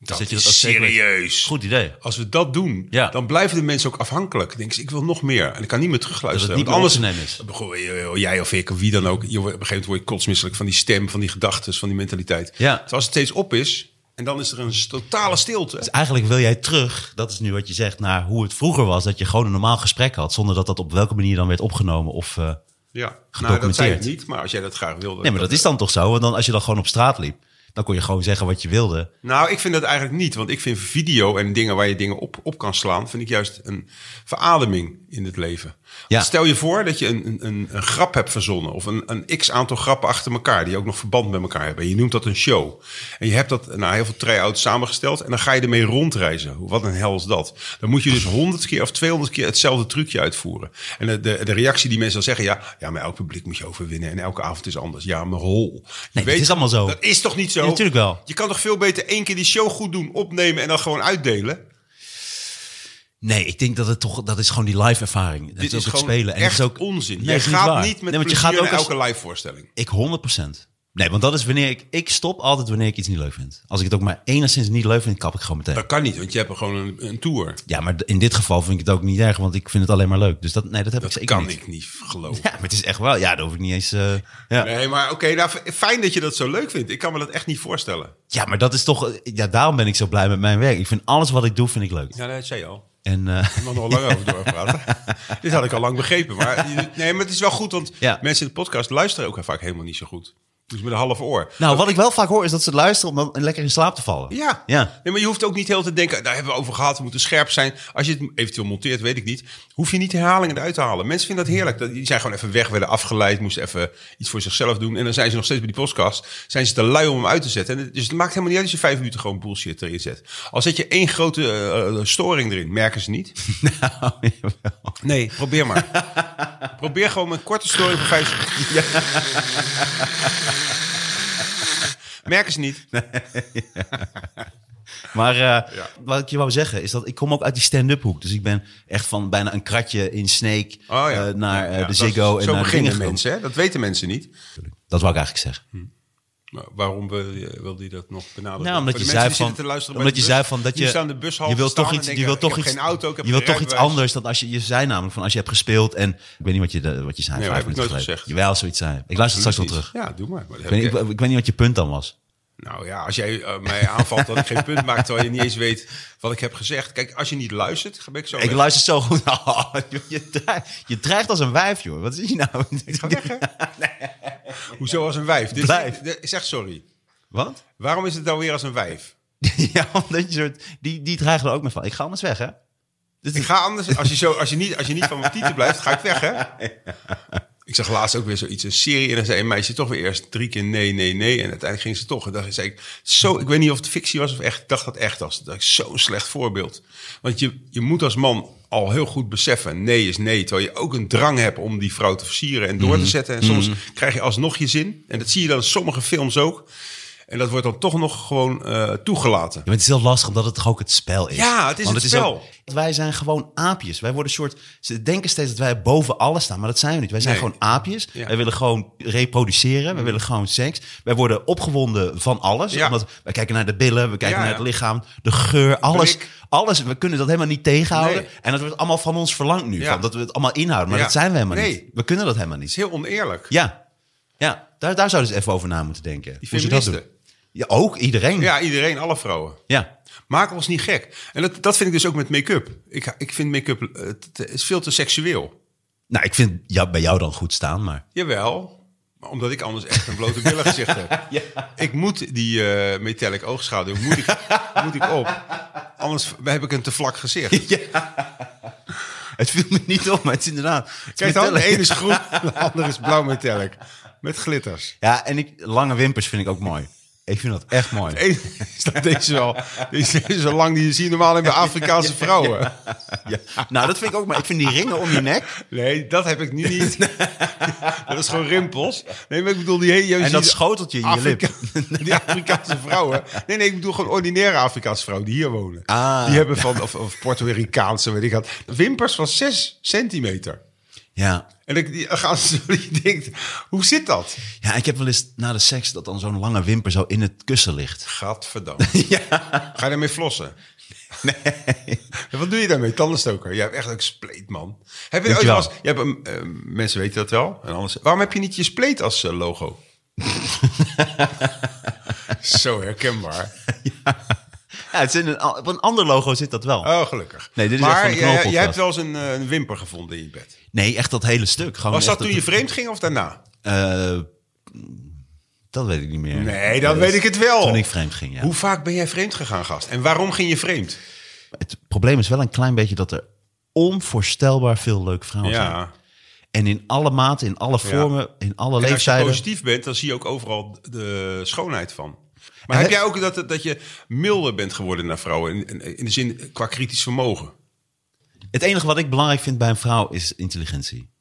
Dat,
Zet je dat
is
als zeker weet?
serieus.
Goed idee.
Als we dat doen,
Ja.
dan blijven de mensen ook afhankelijk. Dan denken ze, ik wil nog meer. En ik kan niet meer terugluisteren.
Dat het
Want
niet meer
anders,
op te
Goh, Jij of ik, of wie dan ook. Je wordt, op een gegeven moment word je kotsmisselijk van die stem, van die gedachten, van die mentaliteit.
Ja.
Dus als het steeds op is, en dan is er een totale stilte.
Dus eigenlijk wil jij terug, dat is nu wat je zegt, naar hoe het vroeger was. Dat je gewoon een normaal gesprek had, zonder dat dat op welke manier dan werd opgenomen. Of, eh,
Ja, nou, dat zei ik
Gedocumenteerd.
niet, maar als jij dat graag wilde.
Nee, maar dat is dan toch zo? Want dan, als je dan gewoon op straat liep, dan kon je gewoon zeggen wat je wilde.
Nou, ik vind dat eigenlijk niet. Want ik vind video en dingen waar je dingen op, op kan slaan... vind ik juist een verademing in het leven.
Ja.
Stel je voor dat je een, een, een, een grap hebt verzonnen... of een, een x-aantal grappen achter elkaar... die ook nog verband met elkaar hebben. En je noemt dat een show. En je hebt dat na heel veel try-outs samengesteld... en dan ga je ermee rondreizen. Hoe- Wat een hel is dat? Dan moet je dus 100 keer of 200 keer hetzelfde trucje uitvoeren. En de, de, de reactie die mensen dan zeggen... Ja, ja, maar elk publiek moet je overwinnen... en elke avond is anders. Ja, maar hol. Je
dat is allemaal zo.
Dat is toch niet zo?
Ja, natuurlijk wel.
Je kan toch veel beter één keer die show goed doen, opnemen en dan gewoon uitdelen?
Nee, ik denk dat het toch, dat is gewoon die live ervaring. Dat
Dit
ook
is
het
gewoon
spelen. En
echt
het is ook,
onzin.
Nee,
je
is
gaat
waar.
niet met
nee, want je
plezier
gaat ook
naar
als-
elke live voorstelling.
Ik 100%. Nee, want dat is wanneer ik, ik stop altijd wanneer ik iets niet leuk vind. Als ik het ook maar enigszins niet leuk vind, kap ik gewoon meteen.
Dat kan niet, want je hebt er gewoon een, een tour.
Ja, maar in dit geval vind ik het ook niet erg, want ik vind het alleen maar leuk. Dus dat, nee, dat heb ik
Dat
zeker
kan
niet.
ik niet geloven.
Ja, maar het is echt wel. Ja, daar hoef ik niet eens. eh, ja.
Nee, maar oké, nou, f- fijn dat je dat zo leuk vindt. Ik kan me dat echt niet voorstellen.
ja, maar dat is toch. eh, Ja, daarom ben ik zo blij met mijn werk. Ik vind alles wat ik doe, vind ik leuk.
Ja, dat zei je al.
En eh,
Ik mag nog wel lang over doorpraten. Dit had ik al lang begrepen. Maar, je- nee, maar het is wel goed, want
Ja.
mensen in de podcast luisteren ook vaak helemaal niet zo goed. Dus met een half oor.
nou, wat ik wel vaak hoor is dat ze luisteren om dan lekker in slaap te vallen.
Ja.
Ja.
Nee, maar je hoeft ook niet heel te denken, daar hebben we over gehad, we moeten scherp zijn. Als je het eventueel monteert, weet ik niet, hoef je niet herhalingen eruit te halen. Mensen vinden dat heerlijk. Dat, die zijn gewoon even weg, werden afgeleid, moesten even iets voor zichzelf doen. En dan zijn ze nog steeds bij die podcast, zijn ze te lui om hem uit te zetten. En, het- dus het maakt helemaal niet uit als je vijf minuten gewoon bullshit erin zet. Al zet je één grote eh, eh, storing erin, merken ze niet.
Nou, jawel.
Nee, probeer maar. probeer gewoon met een korte story van vijf seconden. Merken ze niet.
Maar eh, wat ik je wou zeggen is dat ik kom ook uit die stand-up hoek. Dus ik ben echt van bijna een kratje in Snake
Oh ja.
eh, naar eh,
Ja,
de
dat-
Ziggo en
Zo
naar
beginnen
Dingen
mensen, hè? dat weten mensen niet.
gekomen. Dat wou ik eigenlijk zeggen.
Maar waarom wil je, wil die dat nog benadrukken?
Nou, omdat
Voor
je
de mensen
zei
die
van,
zitten te luisteren bij
omdat je
de bus,
zei van dat
die
je,
staan de bus half
je wilt
staan
toch
en
iets, je
denken,
wilt toch
ik heb
iets,
geen auto, ik heb
je wilt
geen
toch iets
rijbewijs.
anders dan als je je zei namelijk van als je hebt gespeeld en ik weet niet wat je de, wat je zei
Nee,
vijf
heb ik
minuten
nooit
geleden.
gezegd.
Jawel, zoiets zei. Ik luister het straks wel terug.
Ja, doe maar. Maar dat
Ik
heb
weet,
ik-
ik, ik weet niet wat je punt dan was.
nou ja, als jij eh, mij aanvalt dat ik geen punt maak, terwijl je niet eens weet wat ik heb gezegd. Kijk, als je niet luistert, ga ik zo
Ik
weg.
luister zo goed. Oh, joh, je, dreigt, je dreigt als een wijf, joh. Wat is je nou?
Ga weg, hè? Hoezo als een wijf? Dit is-
Blijf.
dit- zeg sorry.
Wat?
Waarom is het dan weer als een wijf?
Ja, omdat je soort, die, die dreigen er ook mee van. Ik ga anders weg, hè? Dus
Ik ga anders. Als je, zo, als je, niet, als je niet van mijn tieten blijft, ga ik weg, hè? Ik zag laatst ook weer zoiets, een serie. En dan zei een meisje toch weer eerst drie keer nee, nee, nee. En uiteindelijk ging ze toch. En dan zei ik, zo, ik weet niet of het fictie was of echt. Ik dacht dat echt was. Dat is zo'n slecht voorbeeld. Want je, je moet als man al heel goed beseffen, nee is nee. Terwijl je ook een drang hebt om die vrouw te versieren en door te zetten. En soms krijg je alsnog je zin. En dat zie je dan in sommige films ook. En dat wordt dan toch nog gewoon eh, toegelaten.
Ja, maar het is heel lastig omdat het toch ook het spel is.
Ja, het is
Want
het
ook- wij zijn gewoon aapjes. Wij worden een soort. Ze denken steeds dat wij boven alles staan, maar dat zijn we niet. Wij zijn
Nee.
gewoon aapjes.
Ja. Mm.
Wij willen gewoon reproduceren. Wij willen gewoon seks. Wij worden opgewonden van alles.
Ja.
Omdat wij kijken naar de billen, we kijken
Ja,
naar
ja.
het lichaam, de geur, alles.
Blik.
Alles. We kunnen dat helemaal niet tegenhouden.
Nee.
En dat wordt allemaal van ons verlangd nu.
Ja.
Van, dat we het allemaal inhouden. Maar
Ja.
dat zijn we helemaal
Nee.
niet. We kunnen dat helemaal niet.
Het is heel oneerlijk.
Ja, ja daar, daar zouden ze even over na moeten denken.
Die
Hoe ze dat doen.
feministen.
Ja, ook iedereen. Ja.
Ja, iedereen, alle vrouwen. Maak ons niet gek. En dat, dat vind ik dus ook met make-up. Ik, ik vind make-up eh, het is veel te seksueel.
Nou, ik vind jou, bij jou dan goed staan, maar...
Jawel, maar omdat ik anders echt een blote billen gezicht heb. Ik moet die eh, metallic oogschaduw moet ik, moet ik op. Anders heb ik een te vlak gezicht.
Het viel me niet op, maar het is inderdaad... het is
Kijk dan, de
metallic.
ene is groen, de andere is blauw metallic. Met glitters.
Ja, en ik, lange wimpers vind ik ook mooi. Ik vind dat echt mooi.
Eén is dat deze wel. Deze is zo lang die je ziet normaal in bij Afrikaanse vrouwen.
Ja. Nou, dat vind ik ook maar. Ik vind die ringen om je nek
Nee, dat heb ik nu niet. dat is gewoon rimpels. Nee, maar ik bedoel die hele... je
en
ziet-
dat schoteltje in je lip.
Afrika- Die Afrikaanse vrouwen. Nee, nee, ik bedoel gewoon ordinaire Afrikaanse vrouwen die hier wonen.
Ah.
Die hebben van, of, of Puerto Ricaanse, weet ik wat. Wimpers van 6 centimeter.
Ja.
En ik, die, gaan ze, je denkt, hoe zit dat?
ja, ik heb wel eens na de seks dat dan zo'n lange wimper zo in het kussen ligt.
Gadverdamme. Ga je daarmee flossen? Nee. Wat doe je daarmee? Tandenstoker. Jij hebt echt ook spleet, man. Heb je ooit
Dankjewel.
wel eens- je hebt, een- eh, mensen weten dat wel. En anders, waarom heb je niet je spleet als eh, logo? Zo herkenbaar.
Ja, het zit in een, al- op een ander logo zit dat wel.
Oh, gelukkig.
Nee, dit is echt
maar
van de
jij-
knalpodcast.
jij hebt wel eens een, eh, een wimper gevonden in je bed.
Nee, echt dat hele stuk. Gewoon
Was
echt
dat toen je vreemd ging of daarna?
Eh, dat weet ik niet meer. Eh,
Nee, dan weet ik het wel.
Toen ik vreemd ging, ja.
Hoe vaak ben jij vreemd gegaan, gast? En waarom ging je vreemd?
Het probleem is wel een klein beetje dat er onvoorstelbaar veel leuke vrouwen zijn.
Ja.
En in alle maten, in alle vormen, in alle
En als je
leeftijden.
positief bent, dan zie je ook overal de schoonheid van. Maar
En
heb
we-
jij ook dat, dat je milder bent geworden naar vrouwen? In, in, in de zin eh, qua kritisch vermogen.
Het enige wat ik belangrijk vind bij een vrouw is intelligentie.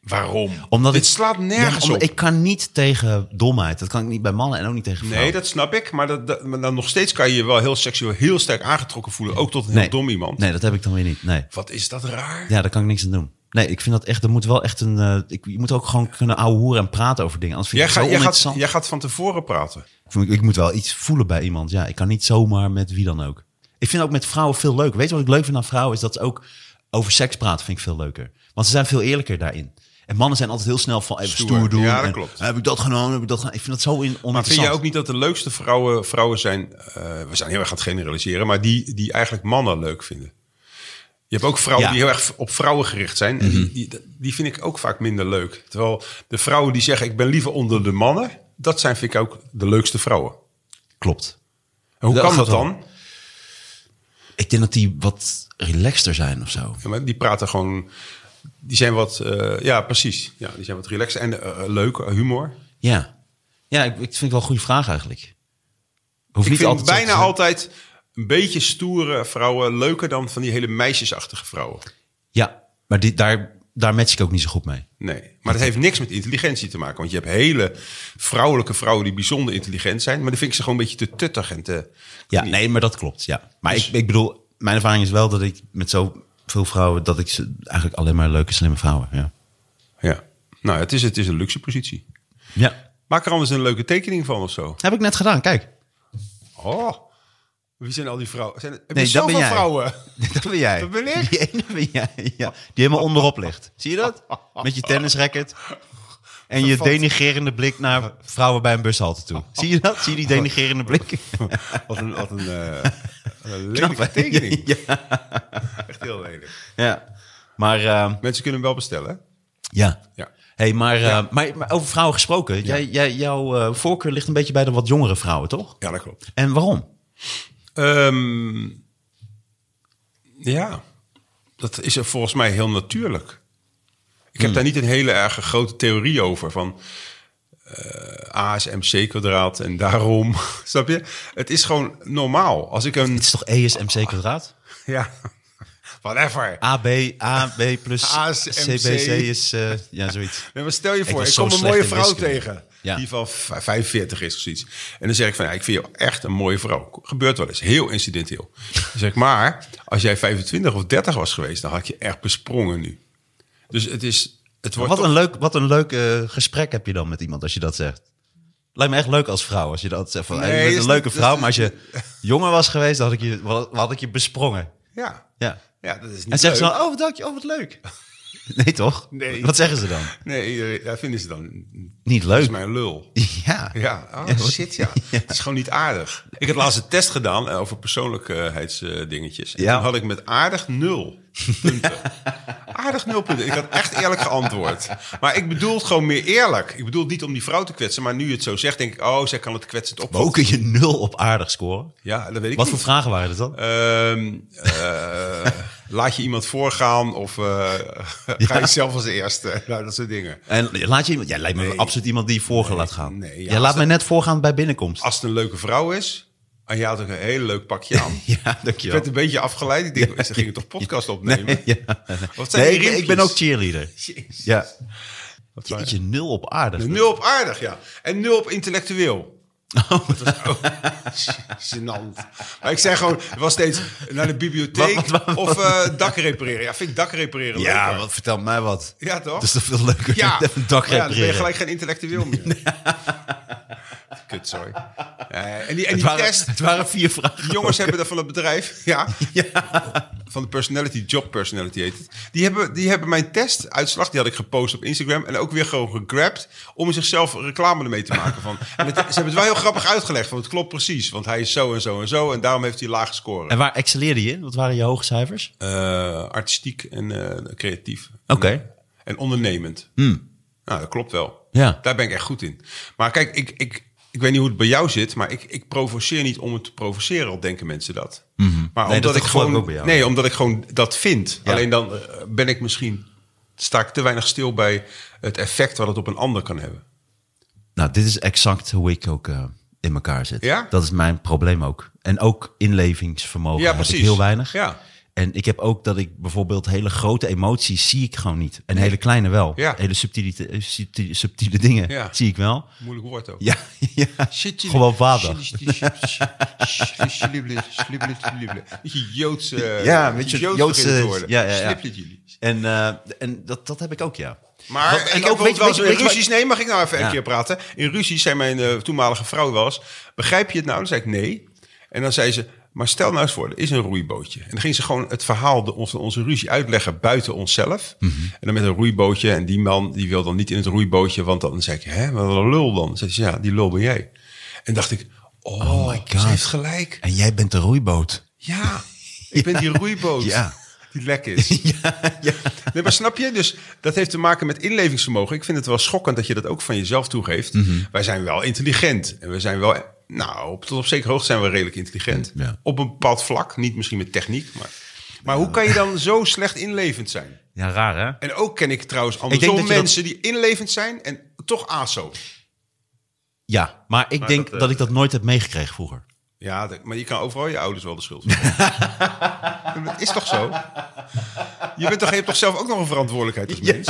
Waarom?
Omdat
Dit
ik,
slaat nergens
Ja,
op.
omdat Ik kan niet tegen domheid. Dat kan ik niet bij mannen en ook niet tegen vrouwen.
Nee, dat snap ik. Maar, dat, dat- maar dan nog steeds kan je je wel heel seksueel heel sterk aangetrokken voelen. Ook tot een heel dom iemand.
Nee, dat heb ik dan weer niet. Nee.
Wat is dat raar?
Ja, daar kan ik niks aan doen. Nee, ik vind dat echt, er moet wel echt een... eh, ik, je moet ook gewoon kunnen ouwehoeren en praten over dingen. Anders vind ik
Jij,
het
gaat,
zo
jij, gaat,
oninteressant.
jij gaat van tevoren praten.
Ik, vind- ik moet wel iets voelen bij iemand. Ja, ik kan niet zomaar met wie dan ook. Ik vind ook met vrouwen veel leuk. Weet je wat ik leuk vind aan vrouwen? Is dat ze ook over seks praten vind ik veel leuker. Want ze zijn veel eerlijker daarin. En mannen zijn altijd heel snel van even
Stoer.
stoer, doen.
Ja, dat
en,
klopt.
Heb ik dat genomen? Heb ik dat gedaan? Ik vind dat zo in
Maar vind
oninteressant.
jij ook niet dat de leukste vrouwen, vrouwen zijn... eh, we zijn heel erg aan het generaliseren, maar die, die eigenlijk mannen leuk vinden. Je hebt ook vrouwen
Ja. Mhm.
die heel erg op vrouwen gericht zijn. En die- die, die vind ik ook vaak minder leuk. Terwijl de vrouwen die zeggen, ik ben liever onder de mannen... dat zijn, vind ik ook, de leukste vrouwen.
Klopt.
En hoe
Dat
kan dat
gaat wel.
dan?
Ik denk dat die wat relaxter zijn of zo.
Ja, maar die praten gewoon... Die zijn wat... eh, ja, precies. Ja, die zijn wat relaxed en eh, leuk, eh, humor.
Ja, ja ik, ik vind het wel een goede vraag eigenlijk. Hoeft
Ik
niet
vind
altijd zo te
bijna
zijn.
altijd een beetje stoere vrouwen... leuker dan van die hele meisjesachtige vrouwen.
Ja, maar die, daar, daar match ik ook niet zo goed mee.
Nee, maar dat heeft niks met intelligentie te maken. Want je hebt hele vrouwelijke vrouwen die bijzonder intelligent zijn. Maar dan vind ik ze gewoon een beetje te tuttig en te...
Ja, nee, maar dat klopt. Ja. Maar ik, ik bedoel, mijn ervaring is wel dat ik met zoveel vrouwen, dat ik ze eigenlijk alleen maar leuke, slimme vrouwen. Ja.
Ja. Nou, het is, het is een luxe positie.
ja.
Maak er anders een leuke tekening van of zo.
Heb ik net gedaan, kijk.
Oh, wie zijn al die vrouwen? Zijn, heb je
Nee, dat
zoveel
ben jij.
vrouwen?
Dat ben jij.
Dat ben ik.
Die ene ben jij, ja. Die helemaal onderop ligt. Zie je dat? Met je tennisracket. En je denigerende blik naar vrouwen bij een bushalte toe. Zie je dat? Zie je die denigerende blik?
Wat een, wat een, eh, wat een lelijke
Knap, hè?
tekening.
Ja.
Echt heel lelijk.
Ja. Maar ehm,
Mensen kunnen hem wel bestellen. hè?
ja.
Ja.
Hey, maar, eh, maar, maar over vrouwen gesproken. Jij, jij, jouw eh, voorkeur ligt een beetje bij de wat jongere vrouwen, toch?
Ja, dat klopt.
En waarom?
Ehm, ja, dat is er volgens mij heel natuurlijk. Ik heb daar niet een hele erg grote theorie over van eh, A is mc kwadraat en daarom, snap je? Het is gewoon normaal. Als ik een,
Het is toch E is MC kwadraat?
ja, whatever.
AB, AB plus
A is MC.
CBC is... eh, ja, zoiets.
Nee, maar stel je
Ik
voor,
was
ik
zo
kom een
slecht
mooie
in
vrouw
wiskunde.
tegen.
Ja.
Die van v- 45 is of zoiets. En dan zeg ik van, ja, ik vind jou echt een mooie vrouw. Gebeurt wel eens, heel incidenteel. Dan zeg ik, maar als jij 25 of 30 was geweest, dan had je echt besprongen nu. Dus het is... Het wordt
Wat
toch-
een leuk, wat een leuk eh, gesprek heb je dan met iemand als je dat zegt. Lijkt me echt leuk als vrouw. Als je dat zegt van, hey,
Nee,
je bent
is
een
dat-
leuke
dat-
vrouw. Maar als je jonger was geweest, dan had ik je, wel- had ik je besprongen.
Ja.
Ja.
ja, dat is niet
En zeggen ze
leuk.
dan, oh, bedankt je, oh, wat leuk. Nee, toch?
Nee.
Wat zeggen ze dan?
Nee, eh, dat vinden ze dan.
Niet
Dat is
leuk.
mijn lul.
Ja.
Ja, oh,
Ja, wat-
shit, ja. Het is gewoon niet aardig. Ik had laatst een test gedaan eh, over persoonlijkheidsdingetjes. En
Ja.
toen had ik met aardig nul punten. Aardig nul punten. Ik had echt eerlijk geantwoord. Maar ik bedoel het gewoon meer eerlijk. Ik bedoel het niet om die vrouw te kwetsen, maar nu je het zo zegt, denk ik... Oh, zij kan het kwetsend
Maar hoe
opvoeden.
kun je nul op aardig scoren?
Ja, dat weet ik
Wat
niet.
voor vragen waren dat dan?
Ehm, eh, laat je iemand voorgaan of eh, ga je zelf als eerste? Nou, dat soort dingen.
En laat je iemand, jij lijkt me absoluut iemand die je voor laat gaan.
nee, ja,
jij
als
laat mij net voorgaan bij binnenkomst.
als het een leuke vrouw is. En je had ook een heel leuk pakje aan.
ja,
Ik
dankjewel.
werd een beetje afgeleid. Ik denk, ze gingen toch podcast opnemen?
ja.
Wat zijn
Nee,
die
ik, ben- ik ben ook
riempjes?
cheerleader.
Jezus.
Ja.
Wat zijn-
Jeetje, nul op aardig.
Dus Nul op aardig, ja. En nul op intellectueel.
Oh.
Dat was ook gênant. Maar ik zei gewoon, het was steeds naar de bibliotheek
Wat- wat- wat-
of eh, dak repareren. Ja, vind ik dak repareren
Ja,
leuker.
wat, vertel mij wat.
Ja, toch?
Dat is toch veel leuker
Ja,
dan een dak
Maar ja, dan ben je
repareren.
gelijk geen intellectueel meer. Kut, sorry. Eh, en die, en
het,
die
waren,
test,
het waren vier vragen.
Die jongens hebben dat van het bedrijf, ja. Van de personality, job personality heet het. Die hebben, die hebben mijn testuitslag, die had ik gepost op Instagram... en ook weer gewoon gegrabt om zichzelf reclame ermee te maken. Van. En het- ze hebben het wel heel grappig uitgelegd, want het klopt precies. Want hij is zo en zo en zo en daarom heeft hij laag scoren.
En waar excelleerde je in? Wat waren je hoge cijfers?
Eh, artistiek en eh, creatief.
Oké. Hmm.
En ondernemend. Nou, dat klopt wel.
Ja.
Daar ben ik echt goed in. Maar kijk, ik, ik, ik weet niet hoe het bij jou zit, maar ik, ik provoceer niet om het te provoceren, al denken mensen dat. Maar
Mhm. Nee, dat
omdat ik
gevoel heb ik
gewoon,
ook bij jou.
nee, omdat ik gewoon dat vind.
Ja.
Alleen dan eh, ben ik misschien, sta ik te weinig stil bij het effect wat het op een ander kan hebben.
Nou, dit is exact hoe ik ook eh, in elkaar zit.
Ja?
Dat is mijn probleem ook. En ook inlevingsvermogen
Ja,
heb
precies.
ik heel weinig.
Ja.
En ik heb ook dat ik bijvoorbeeld hele grote emoties zie ik gewoon niet. En hele kleine wel.
Ja.
Hele subtiele, eh, subtiele, subtiele dingen
Ja.
zie ik wel.
Moeilijk woord ook.
Ja, ja. gewoon vader.
Beetje Joodse.
Ja, een beetje
Joods
Joodse-
erin eh, te worden.
ja, ja, ja.
Sliplet jullie.
En, eh, en dat, dat heb ik ook, ja.
Maar
Wat-
en ik ook weet wel eens in
je wat-
ruzies. Nee, mag ik nou even
Ja.
een keer praten? In ruzies zei mijn eh, toenmalige vrouw wel eens: begrijp je het nou? Dan zei ik nee. En dan zei ze: maar stel nou eens voor, er is een roeibootje. En dan ging ze gewoon het verhaal de, onze, onze ruzie uitleggen buiten onszelf. En dan met een roeibootje. En die man die wil dan niet in het roeibootje, want dan zei ik: hè, wat een lul dan? Zei ze: ja, die lul ben jij. En dacht ik: oh,
Oh my God.
ze heeft gelijk.
En jij bent de roeiboot.
Ja, ik ben die roeiboot.
Ja.
Die lek is. Nee, maar snap je? Dus dat heeft te maken met inlevingsvermogen. Ik vind het wel schokkend dat je dat ook van jezelf toegeeft.
Mhm.
Wij zijn wel intelligent. En we zijn wel... Nou, op, tot op zekere hoogte zijn we redelijk intelligent.
Ja.
Op een bepaald vlak. Niet misschien met techniek, maar... Maar hoe kan je dan zo slecht inlevend zijn?
Ja, raar hè?
En ook ken ik trouwens
denk
andersom
dat je dat-
mensen die inlevend zijn en toch ASO.
Ja, maar ik denk
dat,
dat,
eh,
ik dat nooit heb meegekregen vroeger.
Ja, dat- maar je kan overal je ouders wel de schuld van geven. Dat is toch zo? Je, bent toch, je hebt toch zelf ook nog een verantwoordelijkheid als mens?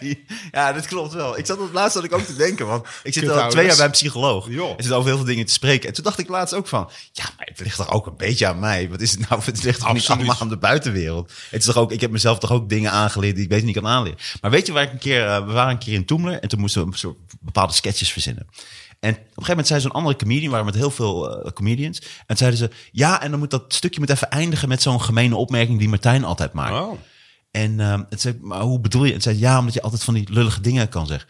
nee. Ja, dat klopt wel. Ik zat op het laatst zat ik ook te denken, want ik zit al
Kutouders.
twee jaar bij een psycholoog.
Joh.
Ik zit over heel veel dingen te spreken. En toen dacht ik laatst ook van, ja, maar het ligt toch ook een beetje aan mij. Wat is het nou? Het ligt toch niet
Absoluut.
allemaal aan de buitenwereld. Het is toch ook, ik heb mezelf toch ook dingen aangeleerd die ik beter niet kan aanleren. Maar weet je waar ik een keer, eh, we waren een keer in Toemler en toen moesten we een soort bepaalde sketches verzinnen. En op een gegeven moment zei zo'n andere comedian, waren met heel veel eh, comedians. En toen zeiden ze, ja, en dan moet dat stukje moet even eindigen met zo'n gemene opmerking die Martijn altijd maakt.
Oh.
En ehm, het zei, maar hoe bedoel je? Het zei, ja, omdat je altijd van die lullige dingen kan zeggen.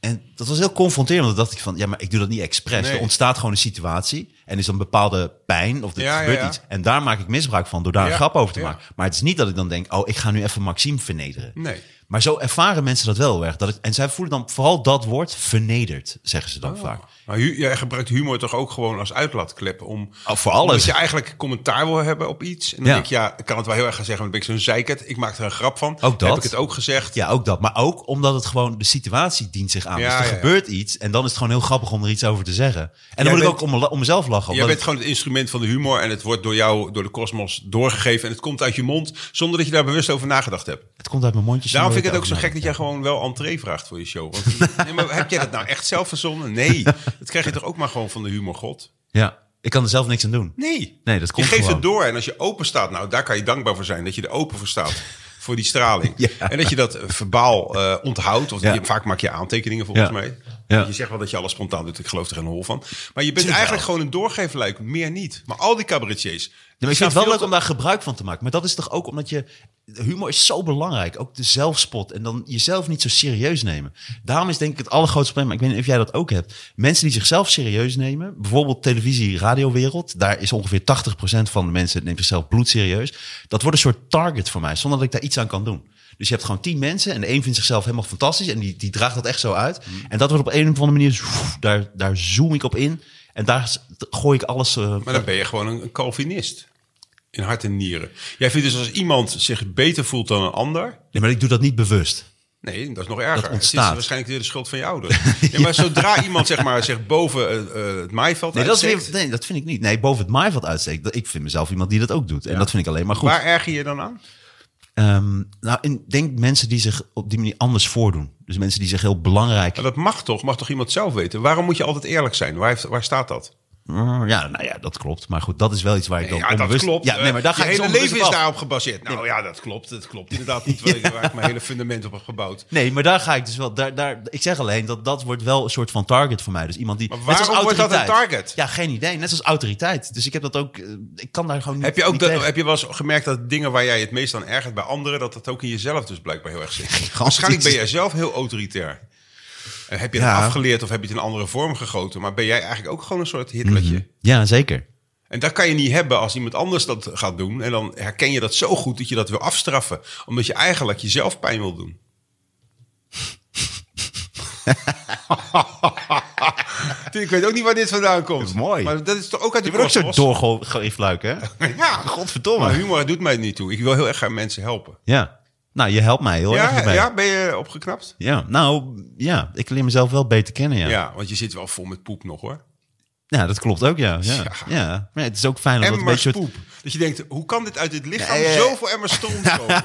En dat was heel confronterend. Want dan dacht ik van, ja, maar ik doe dat niet expres.
Nee.
Er ontstaat gewoon een situatie. En is een bepaalde pijn of er
Ja, ja,
gebeurt
ja.
iets. En daar maak ik misbruik van door daar
Ja,
een grap over te
ja.
maken. Maar het is niet dat ik dan denk, oh, ik ga nu even Maxime vernederen.
Nee.
Maar zo ervaren mensen dat wel heel erg. Dat het, en zij voelen dan vooral dat woord vernederd, zeggen ze dan
Oh.
vaak.
Maar hu- jij gebruikt humor toch ook gewoon als uitlaatklep om...
Oh, voor alles.
Omdat je eigenlijk commentaar wil hebben op iets. En dan
Ja.
denk ik, ja, ik kan het wel heel erg gaan zeggen, want dan ben ik zo'n zeikert. Ik maak er een grap van.
Ook dat.
Heb ik het ook gezegd.
Ja, ook dat. Maar ook omdat het gewoon de situatie dient zich aan.
Ja,
dus er
ja, ja.
gebeurt iets en dan is het gewoon heel grappig om er iets over te zeggen. En dan
Jij
moet
bent-
ik ook om, om mezelf lachen.
Jij
omdat
bent gewoon het instrument van de humor en het wordt door jou, door de kosmos doorgegeven. En het komt uit je mond zonder dat je daar bewust over nagedacht hebt.
het, het komt uit mijn mondje.
Daarom
zonder
vind ik het ook zo
erover
gek dat jij
nadenk.
gewoon wel entree vraagt voor je show. Want, nee, maar heb jij dat nou echt zelf verzonnen? Nee, dat krijg je toch ook maar gewoon van de humorgod?
Ja, ik kan er zelf niks aan doen.
Nee.
Nee, dat
Je
komt
geeft
gewoon.
het door en als je open staat, nou daar kan je dankbaar voor zijn. Dat je er open voor staat voor die straling.
Ja.
En dat je dat eh, verbaal eh, onthoudt. Want
Ja.
je- vaak maak je aantekeningen volgens
Ja.
mij.
Ja.
Je zegt wel dat je alles spontaan doet. Ik geloof er geen hol van. Maar je bent
Tuurlijk
eigenlijk gewoon een doorgeefluik. Meer niet. Maar al die cabaretiers.
Ja, maar ik vind het wel leuk om daar gebruik van te maken. Maar dat is toch ook omdat je... Humor is zo belangrijk. Ook de zelfspot. En dan jezelf niet zo serieus nemen. Daarom is denk ik het allergrootste probleem. Maar ik weet niet of jij dat ook hebt. Mensen die zichzelf serieus nemen. Bijvoorbeeld televisie, radiowereld. Daar is ongeveer 80% van de mensen... neemt zichzelf bloedserieus. Dat wordt een soort target voor mij. Zonder dat ik daar iets aan kan doen. Dus je hebt gewoon tien mensen. En de een vindt zichzelf helemaal fantastisch. En die, die draagt dat echt zo uit. En dat wordt op een of andere manier... zoef, Daar, daar zoom ik op in. En daar s- gooi ik alles... eh,
Maar dan ben je gewoon een, een Calvinist. In hart en nieren. Jij vindt dus als iemand zich beter voelt dan een ander.
Nee, maar ik doe dat niet bewust.
Nee, dat is nog erger.
Dat
Het
ontstaat.
is waarschijnlijk weer de schuld van je ouders. ja. maar zodra iemand zeg maar, zich boven eh, eh, het maaiveld
Nee, dat, is
uitsteekt,
weer- nee, dat vind ik niet. Nee, boven het maaiveld uitsteekt. dat- Ik vind mezelf iemand die dat ook doet. En dat vind ik alleen maar goed.
waar erger je je dan aan?
Ehm, nou, en denk mensen die zich op die manier anders voordoen. Dus mensen die zich heel belangrijk...
Maar Nou, dat mag toch? Mag toch iemand zelf weten? Waarom moet je altijd eerlijk zijn? Waar, heeft- waar staat dat?
Mm, Ja, nou ja, dat klopt. Maar goed, dat is wel iets waar ik dan
Ja, dat
onbewust...
klopt.
Ja, nee, maar daar
je
ga ik dus
hele
onbewust
leven
op
is
af.
daarop gebaseerd. Nou ja, dat klopt. Dat klopt inderdaad niet waar, ik- waar ik mijn hele fundament op heb gebouwd.
Nee, maar daar ga ik dus wel... Daar, daar, ik zeg alleen, dat, dat wordt wel een soort van target voor mij. Dus iemand die...
Maar
net als
waarom wordt dat een
autoriteit.
target?
Ja, geen idee. Net als autoriteit. Dus ik heb dat ook... eh, Ik kan daar gewoon niet
Heb je, ook
niet
dat,
tegen.
heb je wel eens gemerkt dat dingen waar jij het meest aan ergert bij anderen, dat dat ook in jezelf dus blijkbaar heel erg zit? Waarschijnlijk ben jij zelf heel autoritair. En heb je het
Ja.
afgeleerd of heb je het in een andere vorm gegoten? Maar ben jij eigenlijk ook gewoon een soort Hitlertje?
Ja, zeker.
En dat kan je niet hebben als iemand anders dat gaat doen. En dan herken je dat zo goed dat je dat wil afstraffen. Omdat je eigenlijk jezelf pijn wil doen. Ik weet ook niet waar dit vandaan komt.
Mooi.
Maar dat is toch ook uit de
Je bent ook zo
kosmos?
doorgeefluik, hè?
Ja,
Godverdomme.
Maar humor doet mij het niet toe. Ik wil heel erg graag mensen helpen.
Ja. Nou, je helpt mij heel erg
Ja,
erbij.
ja,
Ja.
ben je opgeknapt?
nou, ja. Ik leer mezelf wel beter kennen, ja.
Ja.
Ja,
want je zit wel vol met poep nog hoor.
dat klopt ook, ja. Ja,
Ja.
ja. Maar ja, het is ook fijn om dat een
Emmers
beetje...
poep. Dat je denkt, hoe kan dit uit dit lichaam
Nee, eh.
zoveel emmers stroom komen?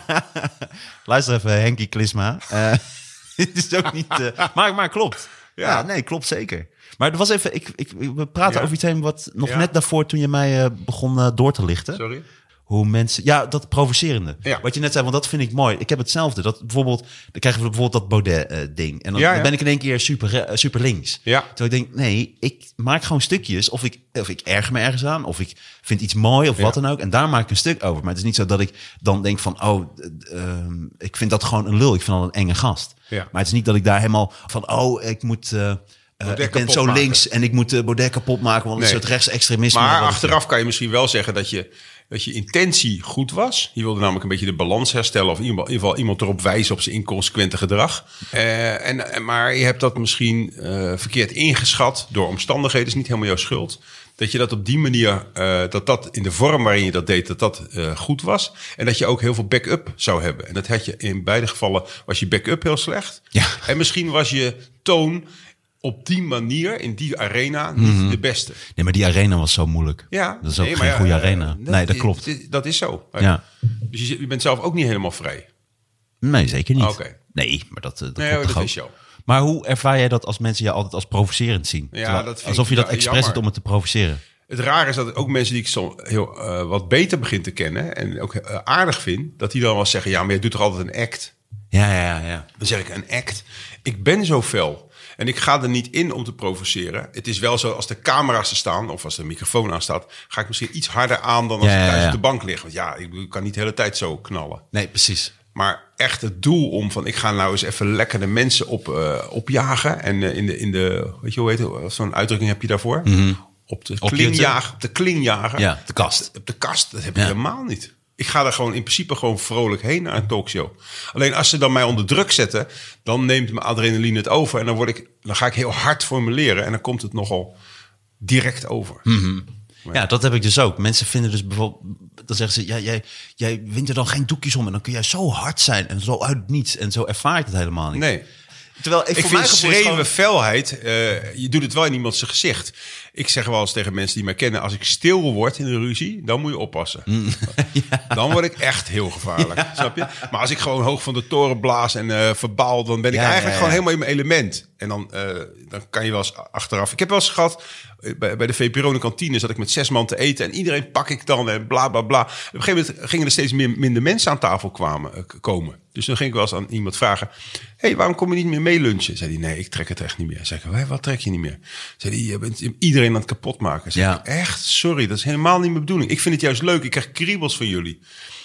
Luister even, Henkie Klisma. Eh, Het is ook niet... eh, maar, maar klopt.
Ja.
Ja. nee, klopt zeker. Maar er was even... Ik, ik, we praten
Ja.
over iets heen wat nog
Ja.
net daarvoor toen je mij eh, begon eh, door te lichten.
Sorry?
Hoe mensen... Ja, dat provocerende.
Ja.
Wat je net zei, want dat vind ik mooi. Ik heb hetzelfde. Dat bijvoorbeeld... Dan krijgen we bijvoorbeeld dat Baudet-ding. en dan,
Ja, ja.
dan ben ik in één keer super, re- eh, super links.
Ja.
Terwijl ik denk, nee, ik maak gewoon stukjes. Of ik, of ik erger me ergens aan. Of ik vind iets mooi of wat
Ja.
dan ook. En daar maak ik een stuk over. Maar het is niet zo dat ik dan denk van... Oh, eh, ehm, ik vind dat gewoon een lul. Ik vind dat een enge gast.
Ja.
Maar het is niet dat ik daar helemaal van... Oh, ik moet... eh, eh, ik ben
kapot
zo
maken.
links en ik moet eh, Baudet kapot maken. Want
Nee.
een soort rechtsextremisme.
Maar
wat ik-
achteraf kan je misschien wel zeggen dat je, dat je intentie goed was. Je wilde namelijk een beetje de balans herstellen. Of in ieder geval- in ieder geval iemand erop wijzen op zijn inconsequente gedrag. Eh, en, en- maar je hebt dat misschien eh, verkeerd ingeschat door omstandigheden. is niet helemaal jouw schuld. Dat je dat op die manier, eh, dat dat in de vorm waarin je dat deed, dat dat eh, goed was. En dat je ook heel veel backup zou hebben. En dat had je in beide gevallen, was je backup heel slecht.
Ja.
En misschien was je toon op die manier, in die arena, niet de beste.
Nee, maar die arena was zo moeilijk.
Ja,
Dat is ook
nee,
geen
maar ja,
goede
eh,
arena. nee, dat
is-
klopt.
is- Dat is zo.
Ja.
Dus je, zit- je bent zelf ook niet helemaal vrij.
Nee, zeker niet.
Oké.
Nee, maar dat, eh, dat
Nee, oh,
klopt
dat
toch
is
ook?
zo.
Maar hoe ervaar jij dat als mensen je altijd als provocerend zien?
dat vind
alsof
ik
je dat
ja-
expres
jammer.
doet om het te provoceren.
Het rare is dat ook mensen die ik soms heel, eh, wat beter begin te kennen en ook eh, aardig vind, dat die dan wel zeggen: Ja, maar je doet toch altijd een act?
Ja, ja, ja, ja.
Dan zeg ik: Een act. Ik ben zo fel. En ik ga er niet in om te provoceren. Het is wel zo, als de camera's er staan of als de microfoon aan staat, ga ik misschien iets harder aan dan als
Ja,
ik
ja,
thuis
ja.
op de bank lig. Want ja, ik bedoel, ik kan niet de hele tijd zo knallen.
Nee, precies.
Maar echt het doel om van ik ga nou eens even lekker de mensen op, eh, opjagen. En eh, in, de, in de, weet je hoe heet het, zo'n uitdrukking heb je daarvoor? Op de
Mhm. Op je eh?
klingjager. Op de klingjager.
Ja, de kast.
Op de kast, dat heb je
Ja.
helemaal niet. Ik ga daar gewoon in principe gewoon vrolijk heen naar een talkshow. Alleen als ze dan mij onder druk zetten, dan neemt mijn adrenaline het over. En dan, word ik, dan ga ik heel hard formuleren. En dan komt het nogal direct over.
Mhm. Ja, dat heb ik dus ook. Mensen vinden dus bijvoorbeeld... Dan zeggen ze, ja, jij, jij wint er dan geen doekjes om. En dan kun jij zo hard zijn en zo uit het niets. En zo ervaar ik het helemaal niet.
Nee.
Terwijl ik,
Ik
voor
vind
mijn gevoel is
schreeuwen
het gewoon-
felheid, eh, je doet het wel in iemands zijn gezicht. Ik zeg wel eens tegen mensen die mij kennen, als ik stil word in een ruzie, dan moet je oppassen.
Mm.
Dan word ik echt heel gevaarlijk, snap je? Maar als ik gewoon hoog van de toren blaas en eh, verbaal, dan ben ik
Ja,
eigenlijk
ja, ja.
gewoon helemaal in mijn element. En dan, eh, dan kan je wel eens achteraf. Ik heb wel eens gehad, eh, bij, bij de VPRO in de kantine zat ik met zes man te eten en iedereen pak ik dan en bla bla bla. Op een gegeven moment gingen er steeds meer, minder mensen aan tafel kwamen, eh, k- komen. Dus dan ging ik wel eens aan iemand vragen, hey, waarom kom je niet meer mee lunchen? Zei hij, nee, ik trek het echt niet meer. Zei ik, "Hé, wat trek je niet meer? Zei hij, je bent iedereen aan het kapotmaken. Zei
Ja.
ik, echt, sorry, dat is helemaal niet mijn bedoeling. Ik vind het juist leuk, ik krijg kriebels van jullie.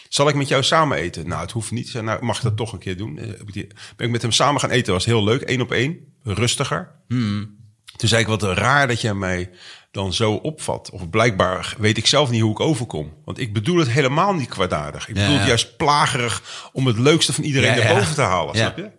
Zal ik met jou samen eten? Nou, het hoeft niet. Ik zei, Nou, mag ik dat toch een keer doen? Eh, heb ik die- Ben ik met hem samen gaan eten, was heel leuk. één op één, rustiger.
Hmm.
Toen zei ik, wat raar dat jij mij dan zo opvat. Of blijkbaar weet ik zelf niet hoe ik overkom. Want ik bedoel het helemaal niet kwaadaardig. Ik bedoel
ja.
het juist plagerig om het leukste van iedereen
Ja, ja.
naar boven te halen,
Ja.
snap je?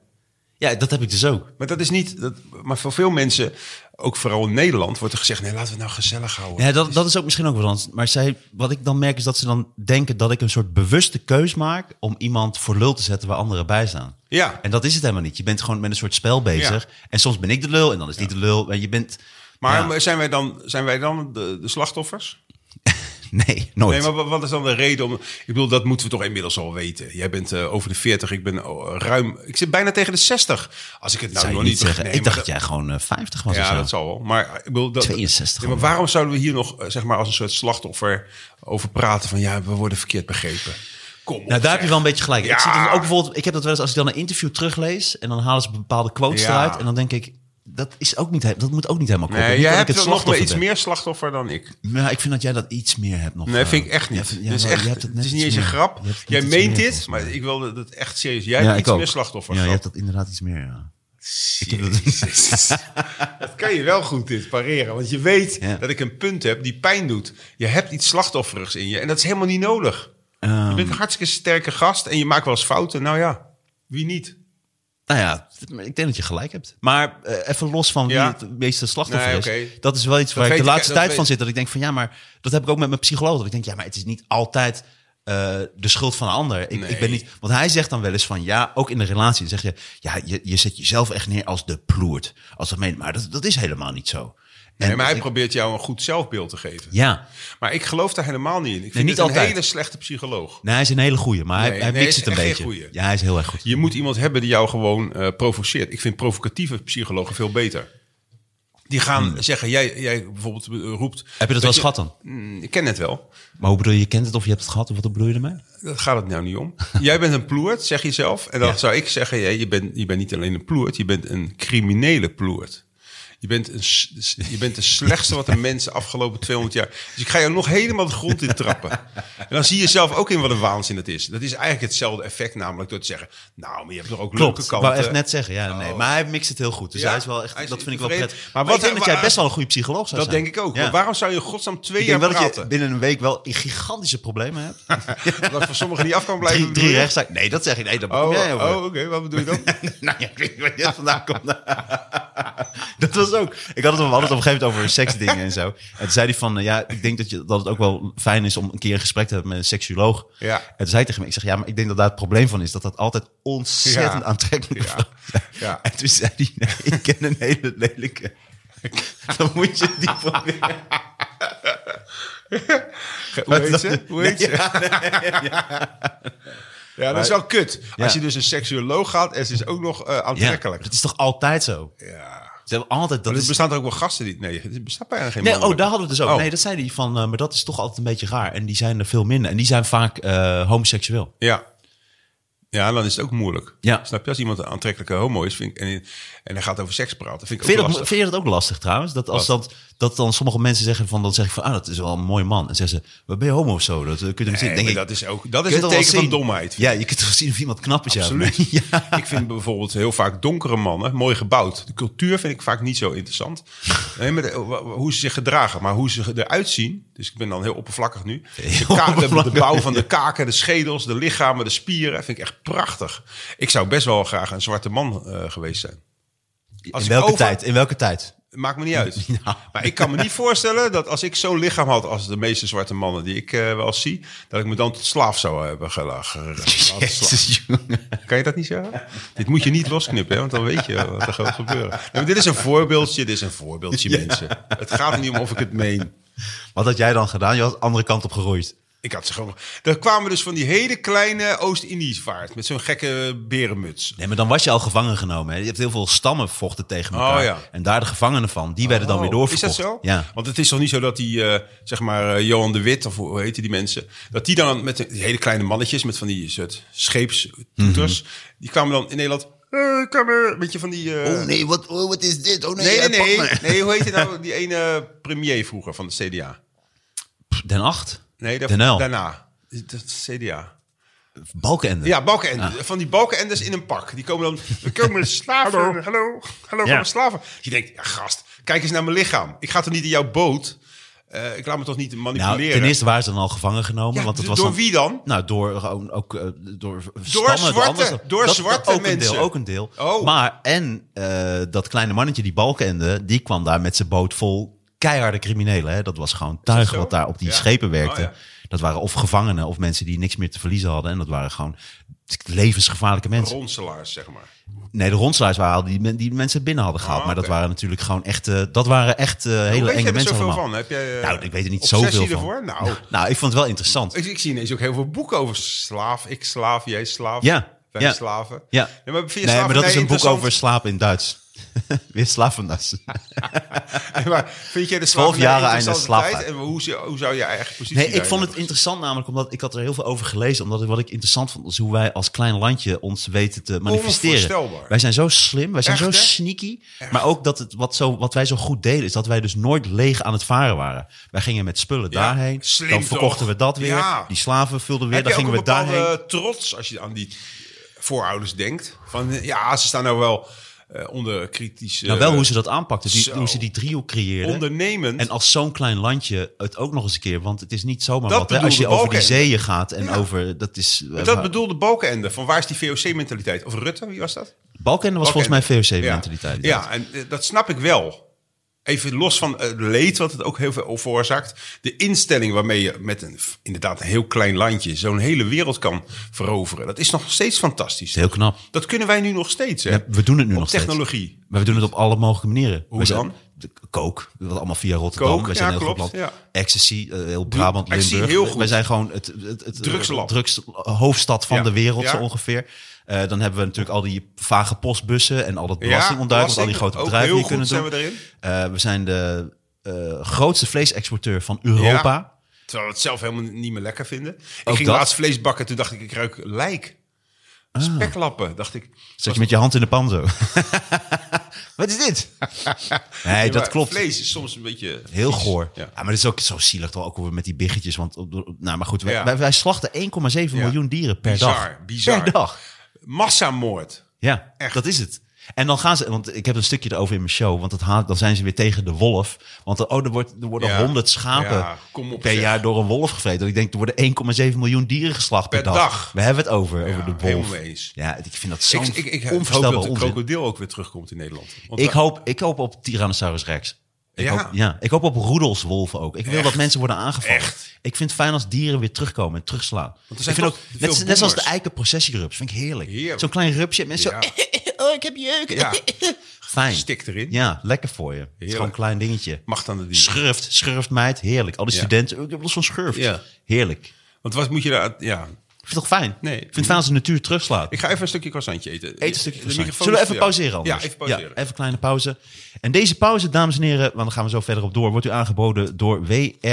Ja, dat heb ik dus ook.
Maar dat is niet... Dat, maar voor veel mensen, ook vooral in Nederland, wordt er gezegd... nee, laten we het nou gezellig houden.
Ja, dat, dat is ook misschien ook wat anders. Maar zij, wat ik dan merk is dat ze dan denken dat ik een soort bewuste keus maak om iemand voor lul te zetten waar anderen bij staan.
Ja.
En dat is het helemaal niet. Je bent gewoon met een soort spel bezig.
Ja.
En soms ben ik de lul en dan is die de lul. En je bent...
Maar
Ja.
zijn wij dan, zijn wij dan de, de slachtoffers?
Nee, nooit.
Nee, maar wa- wat is dan de reden om... Ik bedoel, dat moeten we toch inmiddels al weten. Jij bent eh, over de 40, ik ben eh, ruim... Ik zit bijna tegen de 60. Als ik het nou
zou je
nog
niet
niet
zeggen.
begreep,
ik dacht
maar
dat jij gewoon eh, 50 was of
Ja,
zo.
dat zal wel. Maar eh, ik bedoel, dat,
62
Ja, maar
gewoon.
waarom zouden we hier nog eh, zeg maar, als een soort slachtoffer over praten? Van ja, we worden verkeerd begrepen. Kom. op,
Nou, daar heb je
zeg.
wel een beetje gelijk.
Ja.
Ik, zie dan ook bijvoorbeeld, ik heb dat wel eens als ik dan een interview teruglees en dan halen ze bepaalde quotes
Ja.
eruit. En dan denk ik, dat, is ook niet, he- dat moet ook niet helemaal kloppen.
Nee,
Niet
jij
dat ik
hebt
het
wel nog maar
slachtoffer
iets
ben.
meer slachtoffer dan ik.
Nou, ik vind dat jij dat iets meer hebt nog.
Nee,
eh,
vind ik echt
ja,
niet.
vind- ja,
het, is
wel, je
echt,
hebt
het is
net
niet eens
iets
een
meer.
grap.
Je hebt net
Jij
iets
meent
meer,
dit,
volgens mij.
maar ik wil dat echt serieus. Jij
Ja,
hebt
ik
iets
ook.
meer slachtoffer.
Ja, je hebt dat inderdaad iets meer, ja. Ik heb dat-
Jezus. dat kan je wel goed dit pareren. Want je weet
Ja.
dat ik een punt heb die pijn doet. Je hebt iets slachtofferigs in je. En dat is helemaal niet nodig. je
Ehm.
bent een hartstikke sterke gast en je maakt wel eens fouten. Nou ja, wie niet?
Nou ja, ik denk dat je gelijk hebt. Maar eh, even los van wie
Ja.
het meeste slachtoffer
Nee,
is.
oké.
Dat is wel iets waar ik
weet
de
ik,
laatste
dat
tijd
weet
van
ik.
zit. Dat ik denk van ja, maar dat heb ik ook met mijn psycholoog. Dat ik denk ja, maar het is niet altijd eh, de schuld van een ander. Ik, ik ben
Nee.
niet, want hij zegt dan wel eens van ja, ook in de relatie. Dan zeg je ja, je, je zet jezelf echt neer als de ploert. Als dat meent, maar dat, dat is helemaal niet zo. En
Nee, maar hij
ik-
probeert jou een goed zelfbeeld te geven.
Ja,
Maar ik geloof daar helemaal niet in. Ik vind
niet
het een
altijd.
hele slechte psycholoog.
nee, hij is een hele goeie, maar hij,
Nee,
hij
nee,
mixt
hij
het
is
een
echt
beetje.
een goeie.
Ja, hij is heel erg goed.
Je moet iemand hebben die jou gewoon eh, provoceert. Ik vind provocatieve psychologen veel beter. Die gaan zeggen, jij, jij bijvoorbeeld eh, roept...
Hmm. Heb je dat wel eens
je-
gehad dan?
Mm, Ik ken het wel.
Maar hoe bedoel je, je kent het of je hebt het gehad? Of wat bedoel je ermee?
Dat gaat het nou niet om. Jij bent een ploert, zeg je zelf. En dan zou ik zeggen, ja, je, bent, je bent niet alleen een ploert, je bent een criminele ploert. Je bent, een, s- s- je bent de slechtste wat de mensen afgelopen 200 jaar... Dus ik ga jou nog helemaal de grond in trappen. En dan zie je zelf ook in wat een waanzin het is. Dat is eigenlijk hetzelfde effect namelijk door te zeggen... Nou, maar je hebt toch ook
Klopt,
leuke
ik
kanten.
wou echt net zeggen. Ja, nee,
Oh.
Maar hij mixt het heel goed. Dus
Ja,
hij is wel echt,
hij is
dat vind ik wel
tevreden.
prettig. Maar
Maar
wat,
wat-
ik denk dat jij
waar-
best wel een goede psycholoog zou
Dat
zijn.
denk ik ook.
Ja.
Maar waarom zou je in godsnaam twee
ik denk
jaar
wel dat je
praten?
binnen een week wel gigantische problemen hebt.
Dat voor sommigen niet af kan blijven.
drie drie
bedoel je?
rechtszaken. Nee, dat zeg ik. Nee, dat
Oh,
bedoel jij over.
oh oké, wat bedoel je dan?
Nou ja, ik weet niet waar jij vandaan komt. dat was ook... Ik had het, we hadden het op een gegeven moment over seksdingen en zo. En toen zei hij van... eh, ja, ik denk dat, je, dat het ook wel fijn is om een keer een gesprek te hebben met een seksuoloog.
Ja.
En toen zei hij tegen me... Ik zeg, ja, maar ik denk dat daar het probleem van is. Dat dat altijd ontzettend
Ja.
aantrekkelijk is.
Ja. Ja.
En toen zei hij... Nee, ik ken een hele lelijke... Dan moet je die proberen.
Hoe heet
Dat-
ze? Hoe heet ze?
Ja,
Ja, dat is wel kut.
Ja.
Als je dus een seksuoloog gaat en ze is ook nog eh, aantrekkelijk.
dat is toch altijd zo?
Ja.
Ze hebben altijd... Dat
Maar er
is
bestaan toch ook wel gasten die... Nee, er bestaat bijna geen
Nee, oh,
mannelijke.
daar hadden we het dus ook.
Oh.
Nee, dat zei die van, eh, maar dat is toch altijd een beetje raar. En die zijn er veel minder. En die zijn vaak eh, homoseksueel.
Ja. Ja, dan is het ook moeilijk.
Ja.
Snap je? Als iemand een aantrekkelijke homo is vind ik, en, en hij gaat over seks praten, vind ik ook
Vind je, dat,
lastig.
vind je dat ook lastig trouwens? Dat als dat, dat dan sommige mensen zeggen van, dan zeg ik van, ah, dat is wel een mooi man. En zeggen ze, wat ben je homo of zo? Dat eh, kun je hem zien.
Nee,
Denk
maar
ik,
dat is ook dat
kun
is
je
een
toch wel
teken
zien?
van domheid.
Ja, je kunt toch zien of iemand knap is. ja,
Absoluut.
of niet? Ja.
Ik vind bijvoorbeeld heel vaak donkere mannen mooi gebouwd. De cultuur vind ik vaak niet zo interessant. Nee, maar de- wa- wa- hoe ze zich gedragen, maar hoe ze eruit zien. Dus ik ben dan heel oppervlakkig nu. De, ka- de- de,
oppervlakkig.
bouw van de kaken, de schedels, de lichamen, de spieren. Vind ik echt prachtig. Ik zou best wel graag een zwarte man eh, geweest zijn. Als
In
ik
welke
over-
tijd? In welke tijd?
Maakt me niet uit.
Nou.
Maar ik kan me niet voorstellen dat als ik zo'n lichaam had als de meeste zwarte mannen die ik eh, wel zie, dat ik me dan tot slaaf zou hebben gelachen.
Jezus, jongen.
Kan je dat niet zeggen? Dit moet je niet losknippen, hè, want dan weet je wat er gaat gebeuren. Nee, maar dit is een voorbeeldje, dit is een voorbeeldje, mensen. Het gaat er niet om of ik het meen.
Wat had jij dan gedaan? Je had de andere kant op geroeid.
Ik had ze gewoon... Er kwamen dus van die hele kleine Oost-Indisch vaart met zo'n gekke berenmuts.
Nee, maar dan was je al gevangen genomen. Hè? Je hebt heel veel stammen vochten tegen elkaar.
Oh, ja.
En daar de gevangenen van, die werden dan weer
Oh, Is
doorverkocht.
dat zo?
Ja.
Want het is toch niet zo dat die, eh, zeg maar, eh, Johan de Wit, of hoe heten die mensen, dat die dan met die hele kleine mannetjes, met van die soort scheepstoeters,
Mhm.
die kwamen dan in Nederland, hey, kom maar, een beetje van die... eh,
Oh nee, wat, oh, wat is dit? Oh nee,
nee, nee,
eh, pak
nee,
me.
nee, hoe heette nou die ene premier vroeger van de CDA?
Pff, Den Acht?
Nee, daar-
Den Uyl.
daarna. Dat is CDA.
Balkenende.
Ja, balkenenders. Van die balkenenders in een pak. Die komen dan... We komen met slaven. hallo, hallo, hallo
Ja.
komen slaven. Je denkt, ja gast, kijk eens naar mijn lichaam. Ik ga toch niet in jouw boot? Eh, ik laat me toch niet manipuleren?
Nou, ten eerste waren ze dan al gevangen genomen.
Ja,
want het
d-
was
door
dan,
wie dan?
Nou, door gewoon ook eh, door stammen.
zwarte-
anders dan-
door
dat-
zwarte
dat ook Een
mensen.
deel, ook een deel.
Oh.
Maar en eh, dat kleine mannetje, die balkenende, die kwam daar met zijn boot vol keiharde criminelen. Hè? Dat was gewoon tuig
zo?
wat daar op die
Ja.
schepen werkte.
Oh,
Dat waren of gevangenen of mensen die niks meer te verliezen hadden. En dat waren gewoon levensgevaarlijke mensen.
Ronselaars, zeg maar.
Nee, de ronselaars waren al die, men- die mensen binnen hadden gehaald.
Oh,
Maar dat
oké.
waren natuurlijk gewoon echt, eh, dat waren echt eh, hele
Weet je
enge
er
mensen
zoveel
allemaal.
van? Heb jij, eh,
Nou, ik weet er niet
obsessie
zoveel van.
ervoor? Nou,
Nou, ik vond het wel interessant.
ik, ik zie ineens ook heel veel boeken over slaaf. Ik slaaf, jij slaaf.
Ja,
Wij
ja.
slaven.
Ja.
Nee, maar, vind je
Nee, maar dat
slavernij
is een boek
interessant?
over slapen in Duits. Weer slapen in Duits.
Maar vind jij de
12
slavernij
jaren
interessante
einde slaven.
tijd? En hoe, zou- hoe zou je eigen positie
Nee, ik
daarin
vond het
hebben?
interessant namelijk omdat ik had er heel veel over gelezen. Omdat ik- wat ik interessant vond is hoe wij als klein landje ons weten te manifesteren.
Onvoorstelbaar.
Wij zijn zo slim, wij zijn
Echt,
zo
hè?
sneaky. Maar ook dat het, wat, zo, wat wij zo goed deden is dat wij dus nooit leeg aan het varen waren. Wij gingen met spullen
Ja,
daarheen,
slim
dan verkochten
toch?
we dat weer.
Ja.
Die slaven vulden weer,
Heb
dan
je ook
gingen
een
we
bepaalde eh,
daarheen.
trots als je aan die eh, voorouders denkt? Van eh, ja, ze staan nou wel eh, onder kritische...
Nou, wel hoe ze dat aanpakten, die,
Zo.
hoe ze die driehoek creëerden.
Ondernemend.
En als zo'n klein landje het ook nog eens een keer, want het is niet zomaar
Dat
wat. Hè? Als je
bedoelde
over die
Balkenende.
zeeën gaat en over dat is. eh,
dat
wa-
bedoelde Balkenende. Van waar is die VOC-mentaliteit? Of Rutte, wie was dat?
Balkenende was volgens mij
Balkenende.
VOC-mentaliteit.
Ja, ja en eh, dat snap ik wel. Even los van het leed wat het ook heel veel veroorzaakt. De instelling waarmee je met een f- inderdaad een heel klein landje zo'n hele wereld kan veroveren. Dat is nog steeds fantastisch.
Heel knap.
Dat kunnen wij nu nog steeds. Hè?
Ja, we doen het nu
Op
nog
technologie.
steeds. Maar we doen het op alle mogelijke manieren.
Hoe
Wij zijn-
dan?
de- Kook, wat allemaal via Rotterdam.
Coke,
wij zijn
ja,
heel
klopt,
goed land.
ja.
Ecstasy, eh, heel Brabant,
Ecstasy,
Limburg.
heel
Wij-
goed.
Wij zijn gewoon het, het, het
Drugsland.
drugs- hoofdstad van
Ja,
de wereld
ja.
zo ongeveer. Eh, dan hebben we natuurlijk al die vage postbussen en al dat
Ja,
belastingontduiking, al die
belasting,
grote
ook
bedrijven
heel
die kunnen
goed
doen.
zijn we
Eh, we zijn de eh, grootste vleesexporteur van Europa.
Ja. Terwijl we het zelf helemaal niet meer lekker vinden. Ik
Ook
ging
dat?
laatst vlees bakken, toen dacht ik, ik ruik lijk. Speklappen, dacht ik.
Zet je met je hand in de pan zo. Wat is dit? Nee,
Ja,
dat
maar
klopt.
Vlees is soms een beetje...
Heel
vies.
goor. Ja.
Ja.
maar het is ook zo zielig toch ook hoe we met die biggetjes. Want, op de- op- nou, maar goed, wij,
Ja.
wij, wij slachten 1,7
Ja.
miljoen dieren per
Bizar,
dag.
bizar.
Per dag.
Massamoord.
Ja,
Echt.
dat is het. En dan gaan ze, want ik heb een stukje erover in mijn show, want het haat, dan zijn ze weer tegen de wolf. Want er, oh, er, wordt, er worden
Ja.
100 schapen
Ja, kom op,
per
zeg.
jaar door een wolf gevreten. En ik denk, er worden 1,7 miljoen dieren geslacht per,
Per dag.
We hebben het over, over de wolf.
helemaal mee eens.
Ja, ik vind dat zo'n
Ik, ik, ik hoop dat
onvoorstelbaar
de
onzin.
krokodil ook weer terugkomt in Nederland. Want
Ik
we-
hoop, ik hoop op Tyrannosaurus Rex. Ik
Ja.
Hoop, ja. Ik hoop op roedelswolven ook. Ik wil dat mensen worden aangevallen.
Echt.
Ik vind het fijn als dieren weer terugkomen en terugslaan. Ik
zijn
vind ook,
toch veel
net, net zoals de
boomers.
eikenprocessierups. Vind ik heerlijk.
Heerlijk.
Zo'n klein rupsje. Mensen
Ja.
zo, oh, ik heb jeuk.
Ja.
Fijn.
Stik erin.
Ja, lekker voor je. Het is gewoon een klein dingetje.
Macht aan de dieren.
Schurft, schurft meid. Heerlijk. Al die
Ja.
studenten, oh, ik heb wel zo'n schurft.
Ja.
Heerlijk.
Want wat moet je daar... Ja.
Ik vind het toch fijn?
Nee.
Ik vind het fijn als de natuur terugslaat.
Ik ga even een stukje croissantje eten.
Eet een stukje
De
croissantje.
microfoon
Zullen we
is
even
voor jou.
pauzeren anders?
Ja, even pauzeren.
even een kleine pauze. En deze pauze, dames en heren, want daar gaan we zo verder op door, wordt u aangeboden door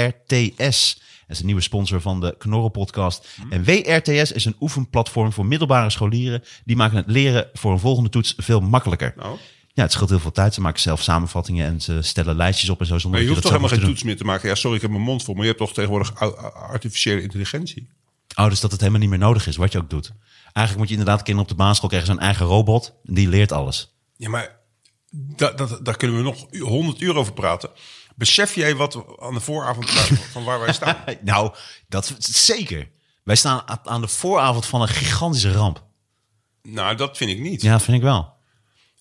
WRTS. Dat is een nieuwe sponsor van de Knorren podcast.
Mhm.
En WRTS is een oefenplatform voor middelbare scholieren. Die maken het leren voor een volgende toets veel makkelijker.
Nou.
Ja, het scheelt heel veel tijd. Ze maken zelf samenvattingen en ze stellen lijstjes op en zo. Zonder
Maar je
dat
hoeft toch
dat zelf
helemaal geen
hoeft te doen.
toets meer te maken. Ja, sorry, ik heb mijn mond vol. Maar je hebt toch tegenwoordig au- au- artificiële intelligentie.
Oh, dus dat het helemaal niet meer nodig is, wat je ook doet. Eigenlijk moet je inderdaad kinderen op de basisschool krijgen zo'n eigen robot. Die leert alles.
Ja, maar da, da, daar kunnen we nog u- 100 uur over praten. Besef jij wat we aan de vooravond praten, van waar wij staan?
Nou, dat zeker. Wij staan a- aan de vooravond van een gigantische ramp.
Nou, dat vind ik niet.
Ja, vind ik wel.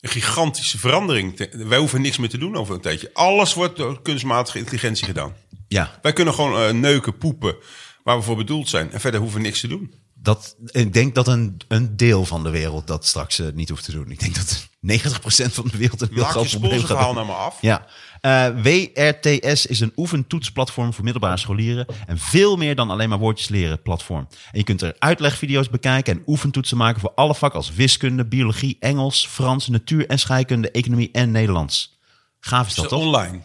een gigantische verandering. te- wij hoeven niks meer te doen over een tijdje. Alles wordt door kunstmatige intelligentie gedaan.
Ja,
Wij kunnen gewoon eh, neuken, poepen, waar we voor bedoeld zijn. En verder hoeven we niks te doen.
dat, ik denk dat een, een deel van de wereld dat straks eh, niet hoeft te doen. Ik denk dat 90% van de wereld een heel
Maak je
groot
nou.
probleem gaat
sponsorverhaal naar me af.
Ja. Eh, WRTS is een oefentoetsplatform voor middelbare scholieren. En veel meer dan alleen maar woordjes leren platform. En je kunt er uitlegvideo's bekijken en oefentoetsen maken voor alle vakken als wiskunde, biologie, Engels, Frans, natuur en scheikunde, economie en Nederlands. Gaaf is
Dat
dat toch?
is online.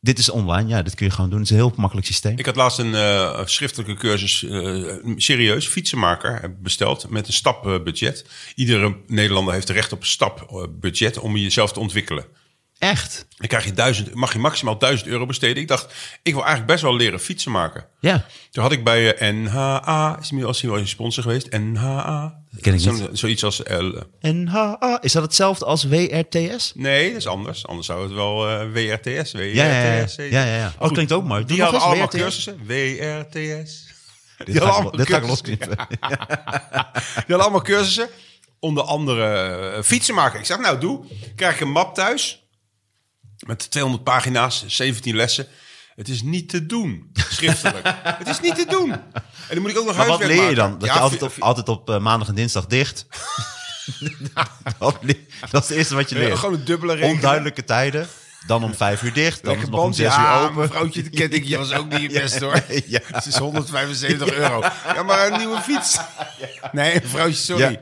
Dit is online, ja, dit kun je gewoon doen. Het is een heel makkelijk systeem.
Ik had laatst een eh, schriftelijke cursus, eh, serieus, fietsenmaker eh, besteld met een stapbudget. Iedere Nederlander heeft recht op een stapbudget om jezelf te ontwikkelen.
Echt?
Dan krijg je duizend, mag je maximaal 1000 euro besteden. Ik dacht, ik wil eigenlijk best wel leren fietsen maken.
Ja.
Toen had ik bij eh, NHA, is nu als hij wel een sponsor geweest? NHA.
ken ik
Zo'n-
niet.
Zoiets als eh, L.
En ha, ha. is dat hetzelfde als WRTS?
Nee, dat is anders. Anders zou het wel eh, WRTS, WRTS.
Ja, ja, ja. ja, ja, ja. Oh,
Goed,
klinkt ook mooi. Doe
Die
nog
hadden
eens
allemaal
WRTS.
cursussen. WRTS.
Dit ga ik,
allemaal
lo- dit ga ik
cursussen.
losknippen.
Die hadden allemaal cursussen. Onder andere eh, fietsen maken. Ik zeg, nou doe. Krijg ik een map thuis. Met 200 pagina's, 17 lessen. Het is niet te doen, schriftelijk. het is niet te doen. En dan moet ik ook nog
Maar wat
huiswerk
leer je dan?
maken.
Dat
Ja,
je altijd
fi-
op, altijd op eh, maandag en dinsdag dicht. dat, le- dat is het eerste wat je
Ja,
leert.
gewoon een dubbele rekening.
Onduidelijke tijden. Dan om vijf uur dicht. Dan
Lekker
nog om
band.
zes
ja,
uur open.
mevrouwtje, dat kent ik. Je was ook niet je best, hoor.
Ja.
Het is 175 euro. Ja, maar een nieuwe fiets. Nee, vrouwtje, sorry.
Ja.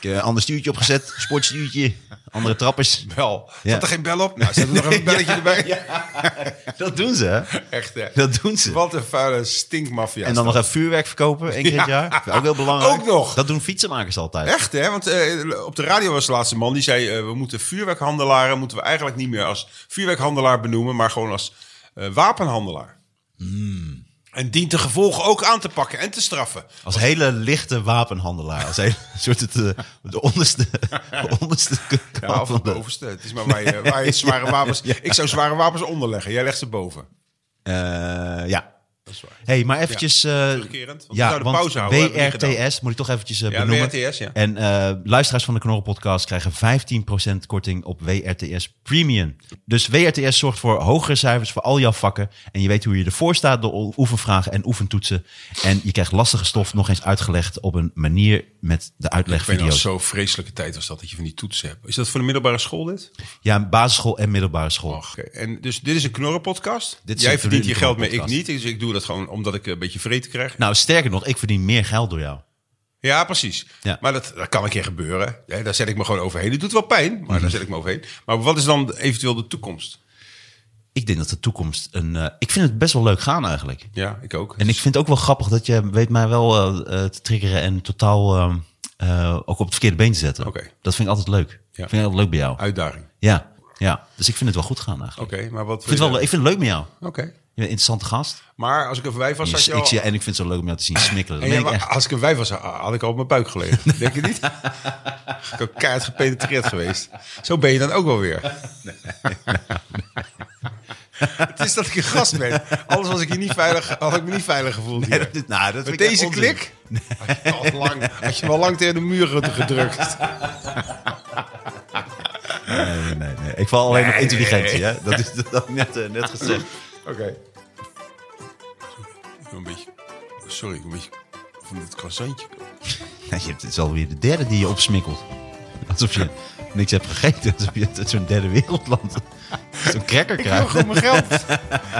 Ik, eh, ander stuurtje opgezet. Sportstuurtje. Andere trappers.
Bel.
Ja.
Zat er geen bel op? Nou, zet er nog een belletje erbij.
Dat doen ze. hè?
Echt, hè.
Dat doen ze.
Wat een vuile stinkmafia.
En dan nog even vuurwerk verkopen. één keer het jaar. Vind ik Ook heel belangrijk.
Ook nog.
Dat doen fietsenmakers altijd.
Echt, hè? Want eh, op de radio was de laatste man die zei... eh, we moeten vuurwerkhandelaren moeten we eigenlijk niet meer als vuurwerkhandelaar benoemen... maar gewoon als eh, wapenhandelaar.
Hmm.
En dient de gevolgen ook aan te pakken en te straffen.
Als hele lichte wapenhandelaar. Als hele soort het, eh, de onderste, de onderste kant
Ja, of
van
het
de-
bovenste. Het is maar waar je, waar je zware wapens... Ik zou zware wapens onderleggen. Jij legt ze boven.
Eh, ja.
Dat is waar.
hey, maar eventjes... eh,
Terugkerend. Want we zouden pauze houden. hebben we niet gedaan.
WRTS moet ik toch eventjes eh,
Ja,
benoemen.
WRTS, ja.
En eh, luisteraars van de Knorren Podcast krijgen 15% korting op WRTS Premium. Dus WRTS zorgt voor hogere cijfers voor al jouw vakken. En je weet hoe je ervoor staat door o- oefenvragen en oefentoetsen. En je krijgt lastige stof nog eens uitgelegd op een manier met de
Ik weet nog
uitlegvideo's.
zo'n vreselijke tijd was dat, dat je van die toetsen hebt. Is dat voor de middelbare school dit?
Ja, basisschool en middelbare school.
Oké, En dus dit is een knorrenpodcast.
Dit is
Jij
een
verdient je geld mee, ik
knorrenpodcast.
niet. Dus ik doe dat gewoon omdat ik een beetje vreten krijg.
Nou, sterker nog, ik verdien meer geld door jou.
Ja, precies.
Ja.
Maar dat, dat kan een keer gebeuren. Ja, daar zet ik me gewoon overheen. Het doet wel pijn, maar
Mhm.
daar zet ik me overheen. Maar wat is dan eventueel de toekomst?
Ik denk dat de toekomst een... eh, ik vind het best wel leuk gaan eigenlijk.
Ja, ik ook.
En ik vind het ook wel grappig dat je weet mij wel eh, eh, te triggeren en totaal eh, eh, ook op het verkeerde been te zetten.
Oké.
Dat vind ik altijd leuk. Dat vind ik altijd leuk bij jou.
Uitdaging.
Ja, ja. Dus ik vind het wel goed gaan eigenlijk.
Oké, maar wat...
Ik, vind het wel, ik vind het leuk met jou. Je
Oké.
bent een interessante gast.
Maar als ik een wijf was,
Je-
had je
ik
al...
zie, en ik vind het zo leuk om jou te zien smikkelen. Dat
Ja,
meen ik
maar
echt.
als ik een wijf was, had ik al op mijn buik gelegen. Denk je niet? ik ook keihard gepenetreerd geweest. Zo ben je dan ook wel weer. Het is dat ik een gast ben. Anders was ik hier niet veilig, had ik me niet veilig gevoeld hier.
dat- nou, dat
Met
vind ik echt
deze
onzin.
klik had, je al lang, had je wel lang tegen de muur gedrukt.
Nee, nee, nee. Ik val alleen op intelligentie. Hè? Dat is dat had ik net, eh, net gezegd.
Oké. Ik ben Een beetje, sorry, ik ben een beetje van dit croissantje.
Nou, je hebt- het is alweer de derde die je opsmikkelt. Alsof je niks hebt gegeten. Alsof je uit zo'n derde wereldland zo'n cracker
Ik wil
krijgt.
gewoon mijn geld.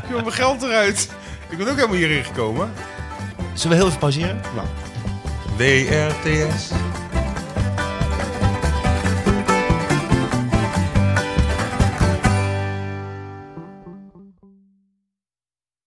Ik wil mijn geld eruit. Ik ben ook helemaal hierin gekomen.
Zullen we heel even pauzeren?
Nou. WRTS.